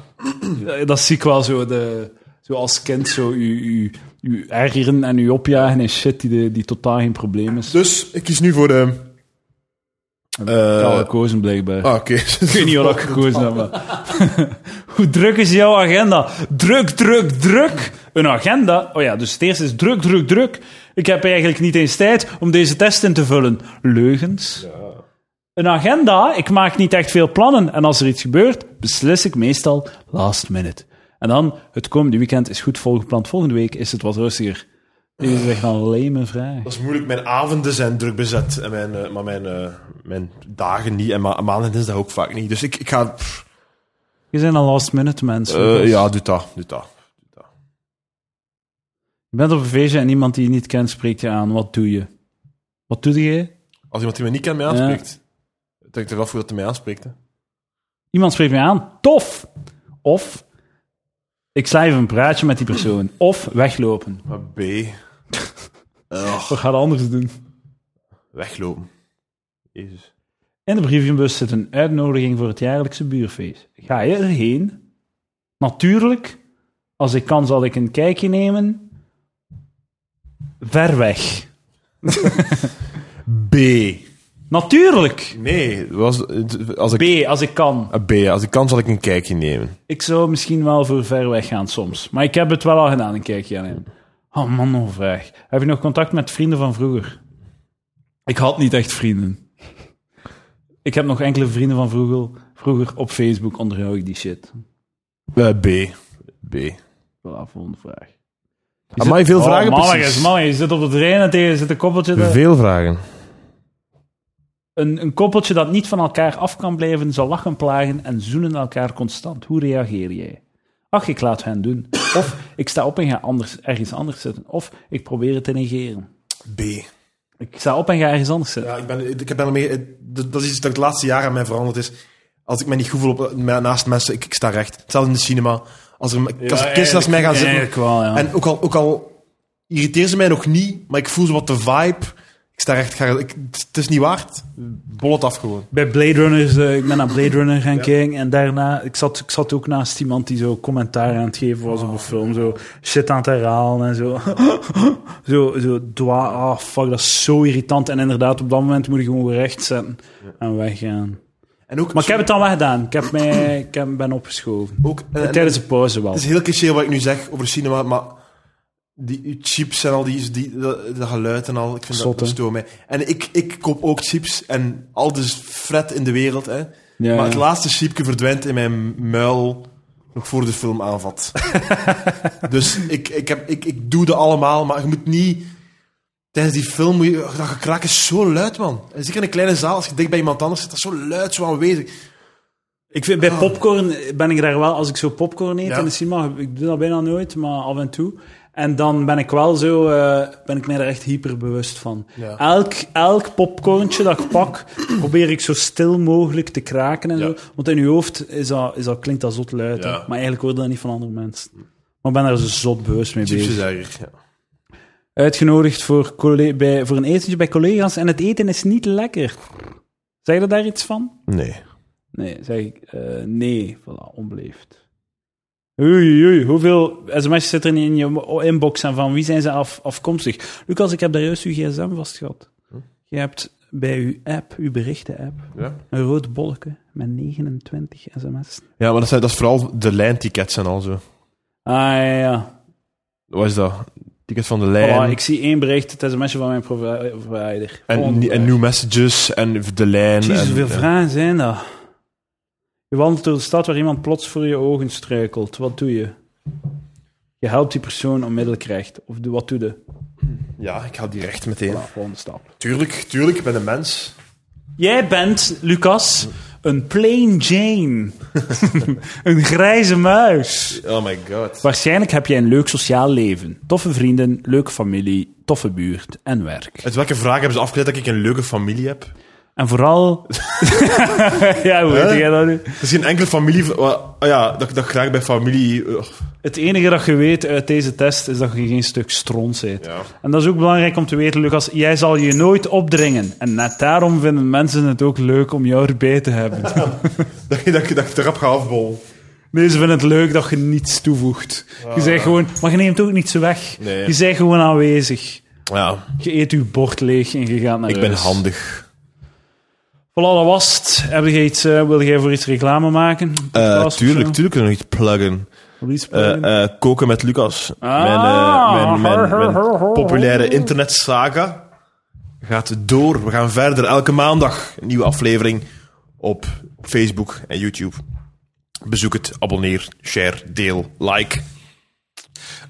Speaker 1: Ja, Eh, Dat zie ik wel zo, de, zo als kind, zo u, u, u ergeren en u opjagen en shit die, de, die totaal geen probleem is.
Speaker 2: Dus ik kies nu voor de.
Speaker 1: Ik had
Speaker 2: eh,
Speaker 1: gekozen blijkbaar.
Speaker 2: ah, oké.
Speaker 1: ik weet niet wat ik gekozen heb. maar- *laughs* Hoe druk is jouw agenda? Druk, druk, druk. Een agenda? Oh ja, dus het eerste is druk, druk, druk. Ik heb eigenlijk niet eens tijd om deze test in te vullen. Leugens. Een agenda? Ik maak niet echt veel plannen. En als er iets gebeurt, beslis ik meestal last minute. En dan, het komende weekend is goed volgepland. Volgende week is het wat rustiger. Deze is echt een lame vraag.
Speaker 2: Dat is moeilijk. Mijn avonden zijn druk bezet. En mijn, eh, maar mijn, eh, mijn dagen niet. En ma maanden is dat ook vaak niet. Dus ik, ik ga. pff,
Speaker 1: Je zijn een last minute mensen.
Speaker 2: eh,
Speaker 1: Lucas.
Speaker 2: ja, doe dat. Doe dat.
Speaker 1: Je bent op een feestje en iemand die je niet kent spreekt je aan. Wat doe je? Wat doe je?
Speaker 2: Als iemand die mij niet kent mij aanspreekt. Ik denk er wel voor dat hij mij aanspreekt. Hè.
Speaker 1: Iemand spreekt mij aan. Tof! Of ik sla even een praatje met die persoon. Of weglopen.
Speaker 2: Maar B. Ugh,
Speaker 1: Wat gaat anders doen?
Speaker 2: weglopen. Jezus.
Speaker 1: In de brievenbus zit een uitnodiging voor het jaarlijkse buurfeest. Ga je erheen? Natuurlijk. Als ik kan, zal ik een kijkje nemen. Ver weg.
Speaker 2: B.
Speaker 1: Natuurlijk.
Speaker 2: Nee, was, als ik.
Speaker 1: B, als ik kan.
Speaker 2: Ah, B, ja. Als ik kan, zal ik een kijkje nemen.
Speaker 1: Ik zou misschien wel voor ver weg gaan soms. Maar ik heb het wel al gedaan, een kijkje aan hem. Oh man, nog een vraag. Heb je nog contact met vrienden van vroeger? Ik had niet echt vrienden. Ik heb nog enkele vrienden van vroeger. Vroeger op Facebook onderhoud ik die shit.
Speaker 2: Eh, B. B.
Speaker 1: Voilà, volgende vraag.
Speaker 2: Amai, veel vragen
Speaker 1: Oh, man,
Speaker 2: precies.
Speaker 1: man, je zit op het terrein en tegen je zit een koppeltje. dat-
Speaker 2: Veel vragen.
Speaker 1: Een, een koppeltje dat niet van elkaar af kan blijven, zal lachen, plagen en zoenen elkaar constant. Hoe reageer jij? Ach, ik laat hen doen. Of ik sta op en ga anders, ergens anders zitten. Of ik probeer het te negeren.
Speaker 2: B.
Speaker 1: Ik sta op en ga ergens anders zitten.
Speaker 2: Ja, ik ben, ik ben meer, dat is iets dat het laatste jaar aan mij veranderd is. Als ik mij niet goed voel op, me- naast mensen, ik, ik sta recht. Hetzelfde in de cinema. Als er, als er kisten naast mij gaan zitten.
Speaker 1: Eigenlijk wel, ja.
Speaker 2: En ook al, ook al irriteert ze mij nog niet, maar ik voel zo wat de vibe. Ik sta recht, ik ga- ik, het is niet waard. Bol het af gewoon.
Speaker 1: Bij Blade Runners, eh, ik ben naar Blade Runner gaan kijken en daarna, ik zat, ik zat ook naast iemand die zo commentaar aan het geven was op een film, zo shit aan het herhalen en zo. *laughs* zo, zo, dwa, ah fuck, dat is zo irritant. En inderdaad, op dat moment moet je gewoon weer recht zetten en weggaan.
Speaker 2: En ook,
Speaker 1: Maar ik heb het dan wel gedaan, ik, heb mij, ik heb, ben opgeschoven.
Speaker 2: ook en- en-
Speaker 1: Tijdens de pauze wel.
Speaker 2: Het is heel cliché wat ik nu zeg over de cinema, maar die die chips en al die, die dat, dat geluid en al, ik vind
Speaker 1: Zot, hè?
Speaker 2: dat stoor mij. En ik, ik koop ook chips en al de fret in de wereld, hè.
Speaker 1: Ja,
Speaker 2: maar het
Speaker 1: ja.
Speaker 2: laatste chipje verdwijnt in mijn muil nog voor de film *laughs* aanvat. dus ik, ik, heb, ik, ik doe dat allemaal, maar je moet niet... Tijdens die film moet je... Dat gekrak is zo luid, man. En zeker in een kleine zaal, als je dicht bij iemand anders zit, dat is zo luid, zo aanwezig.
Speaker 1: Ik vind, bij popcorn ben ik daar wel, als ik zo popcorn eet
Speaker 2: Ah. Ja.
Speaker 1: in de cinema, ik doe dat bijna nooit, maar af en toe. En dan ben ik wel zo, eh, ben ik mij daar echt hyperbewust van.
Speaker 2: Ja.
Speaker 1: Elk, elk popcornje dat ik pak, probeer ik zo stil mogelijk te kraken en
Speaker 2: Ja.
Speaker 1: zo. Want in je hoofd is dat, is dat, klinkt dat zot luid, hè.
Speaker 2: Ja.
Speaker 1: maar eigenlijk hoor je dat niet van andere mensen. Maar ik ben daar zo zot bewust mee
Speaker 2: Chips
Speaker 1: bezig.
Speaker 2: is erger, ja.
Speaker 1: Uitgenodigd voor, colle- bij, voor een etentje bij collega's en het eten is niet lekker. Zeg je daar iets van?
Speaker 2: Nee.
Speaker 1: Nee, zeg ik eh, nee. Voilà, onbeleefd. Oei, oei, hoeveel sms'jes zitten er in je oh, inbox en van wie zijn ze af, afkomstig? Lucas, ik heb daar juist uw gsm vast gehad.
Speaker 2: Hm?
Speaker 1: Je hebt bij uw app, uw berichten-app,
Speaker 2: Ja.
Speaker 1: een rood bolletje met 29 sms'en.
Speaker 2: Ja, maar dat, zijn, dat is vooral de lijntickets en al zo.
Speaker 1: Ah, ja, ja.
Speaker 2: Wat is dat? Tickets van de
Speaker 1: Voilà,
Speaker 2: lijn.
Speaker 1: ik zie één bericht, het sms'je van mijn provi- eh, provider.
Speaker 2: en,
Speaker 1: Volgende
Speaker 2: en new messages en de lijn.
Speaker 1: Jezus,
Speaker 2: en,
Speaker 1: hoeveel
Speaker 2: ja.
Speaker 1: vragen zijn dat? Je wandelt door de stad waar iemand plots voor je ogen struikelt. Wat doe je? Je helpt die persoon onmiddellijk recht. Of doe- wat doe je?
Speaker 2: Ja, ik had die recht meteen.
Speaker 1: Voilà, volgende stap.
Speaker 2: Tuurlijk, tuurlijk, ik ben een mens.
Speaker 1: Jij bent, Lucas, een plain Jane. *laughs* een grijze muis.
Speaker 2: Oh my god.
Speaker 1: Waarschijnlijk heb jij een leuk sociaal leven. Toffe vrienden, leuke familie, toffe buurt en werk.
Speaker 2: Uit welke vraag hebben ze afgeleid dat ik een leuke familie heb?
Speaker 1: En vooral... *laughs* ja, hoe weet
Speaker 2: Huh?
Speaker 1: jij dat nu?
Speaker 2: Er is geen enkele familie... wa- ah ja, dat, dat ik graag bij familie... eh, oh, ugh,
Speaker 1: Het enige dat je weet uit deze test is dat je geen stuk stront bent.
Speaker 2: ja.
Speaker 1: En dat is ook belangrijk om te weten, Lucas. Jij zal je nooit opdringen. En net daarom vinden mensen het ook leuk om jou erbij te
Speaker 2: *laughs*
Speaker 1: hebben.
Speaker 2: *laughs* Dat, ik- dat, ik- dat ik erop ga afbollen.
Speaker 1: Nee, ze vinden het leuk dat je niets toevoegt. Je zegt gewoon... Maar je neemt ook niets weg.
Speaker 2: Ah. Nee.
Speaker 1: Je bent gewoon aanwezig.
Speaker 2: Ja,
Speaker 1: Je eet je bord leeg en je gaat naar
Speaker 2: ik ben
Speaker 1: huis.
Speaker 2: handig.
Speaker 1: Voilà, dat was het. Heb je iets, eh, wil jij voor iets reclame maken?
Speaker 2: Eh,
Speaker 1: Podcast of
Speaker 2: tuurlijk,
Speaker 1: zo?
Speaker 2: tuurlijk kunnen we nog iets pluggen.
Speaker 1: Wil iets
Speaker 2: Eh,
Speaker 1: pluggen?
Speaker 2: eh, koken met Lucas.
Speaker 1: Ah,
Speaker 2: mijn, eh, mijn, mijn,
Speaker 1: har, har,
Speaker 2: mijn
Speaker 1: har, har.
Speaker 2: populaire internetsaga gaat door. We gaan verder elke maandag. Een nieuwe aflevering op Facebook en YouTube. Bezoek het, abonneer, share, deel, like.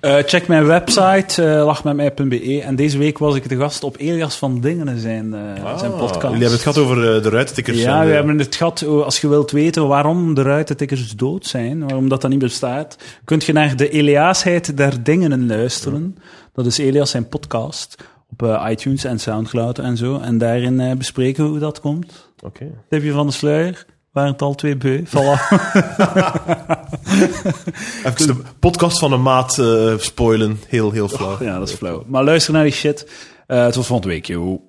Speaker 1: Eh, check mijn website, eh, lachmetmij.be. En deze week was ik te gast op Elias van Dingenen, zijn, eh, zijn podcast.
Speaker 2: Ah. Jullie hebben het gehad over eh, de ruitentikkers. en,
Speaker 1: Ja, we
Speaker 2: eh,
Speaker 1: hebben het gehad. oh, Als je wilt weten waarom de ruitentikkers dood zijn, waarom dat dan niet bestaat, kunt je naar de Eliasheid der Dingen luisteren. Dat is Elias zijn podcast op eh, iTunes en Soundcloud en zo. En daarin eh, bespreken we hoe dat komt.
Speaker 2: Oké.
Speaker 1: Tipje van de sluier. Waren het al twee beu? Voilà.
Speaker 2: Even de podcast van een maat eh, spoilen. Heel, heel flauw.
Speaker 1: *laughs* ja, dat is flauw. Maar luister naar die shit. Eh, tot volgende week, joh.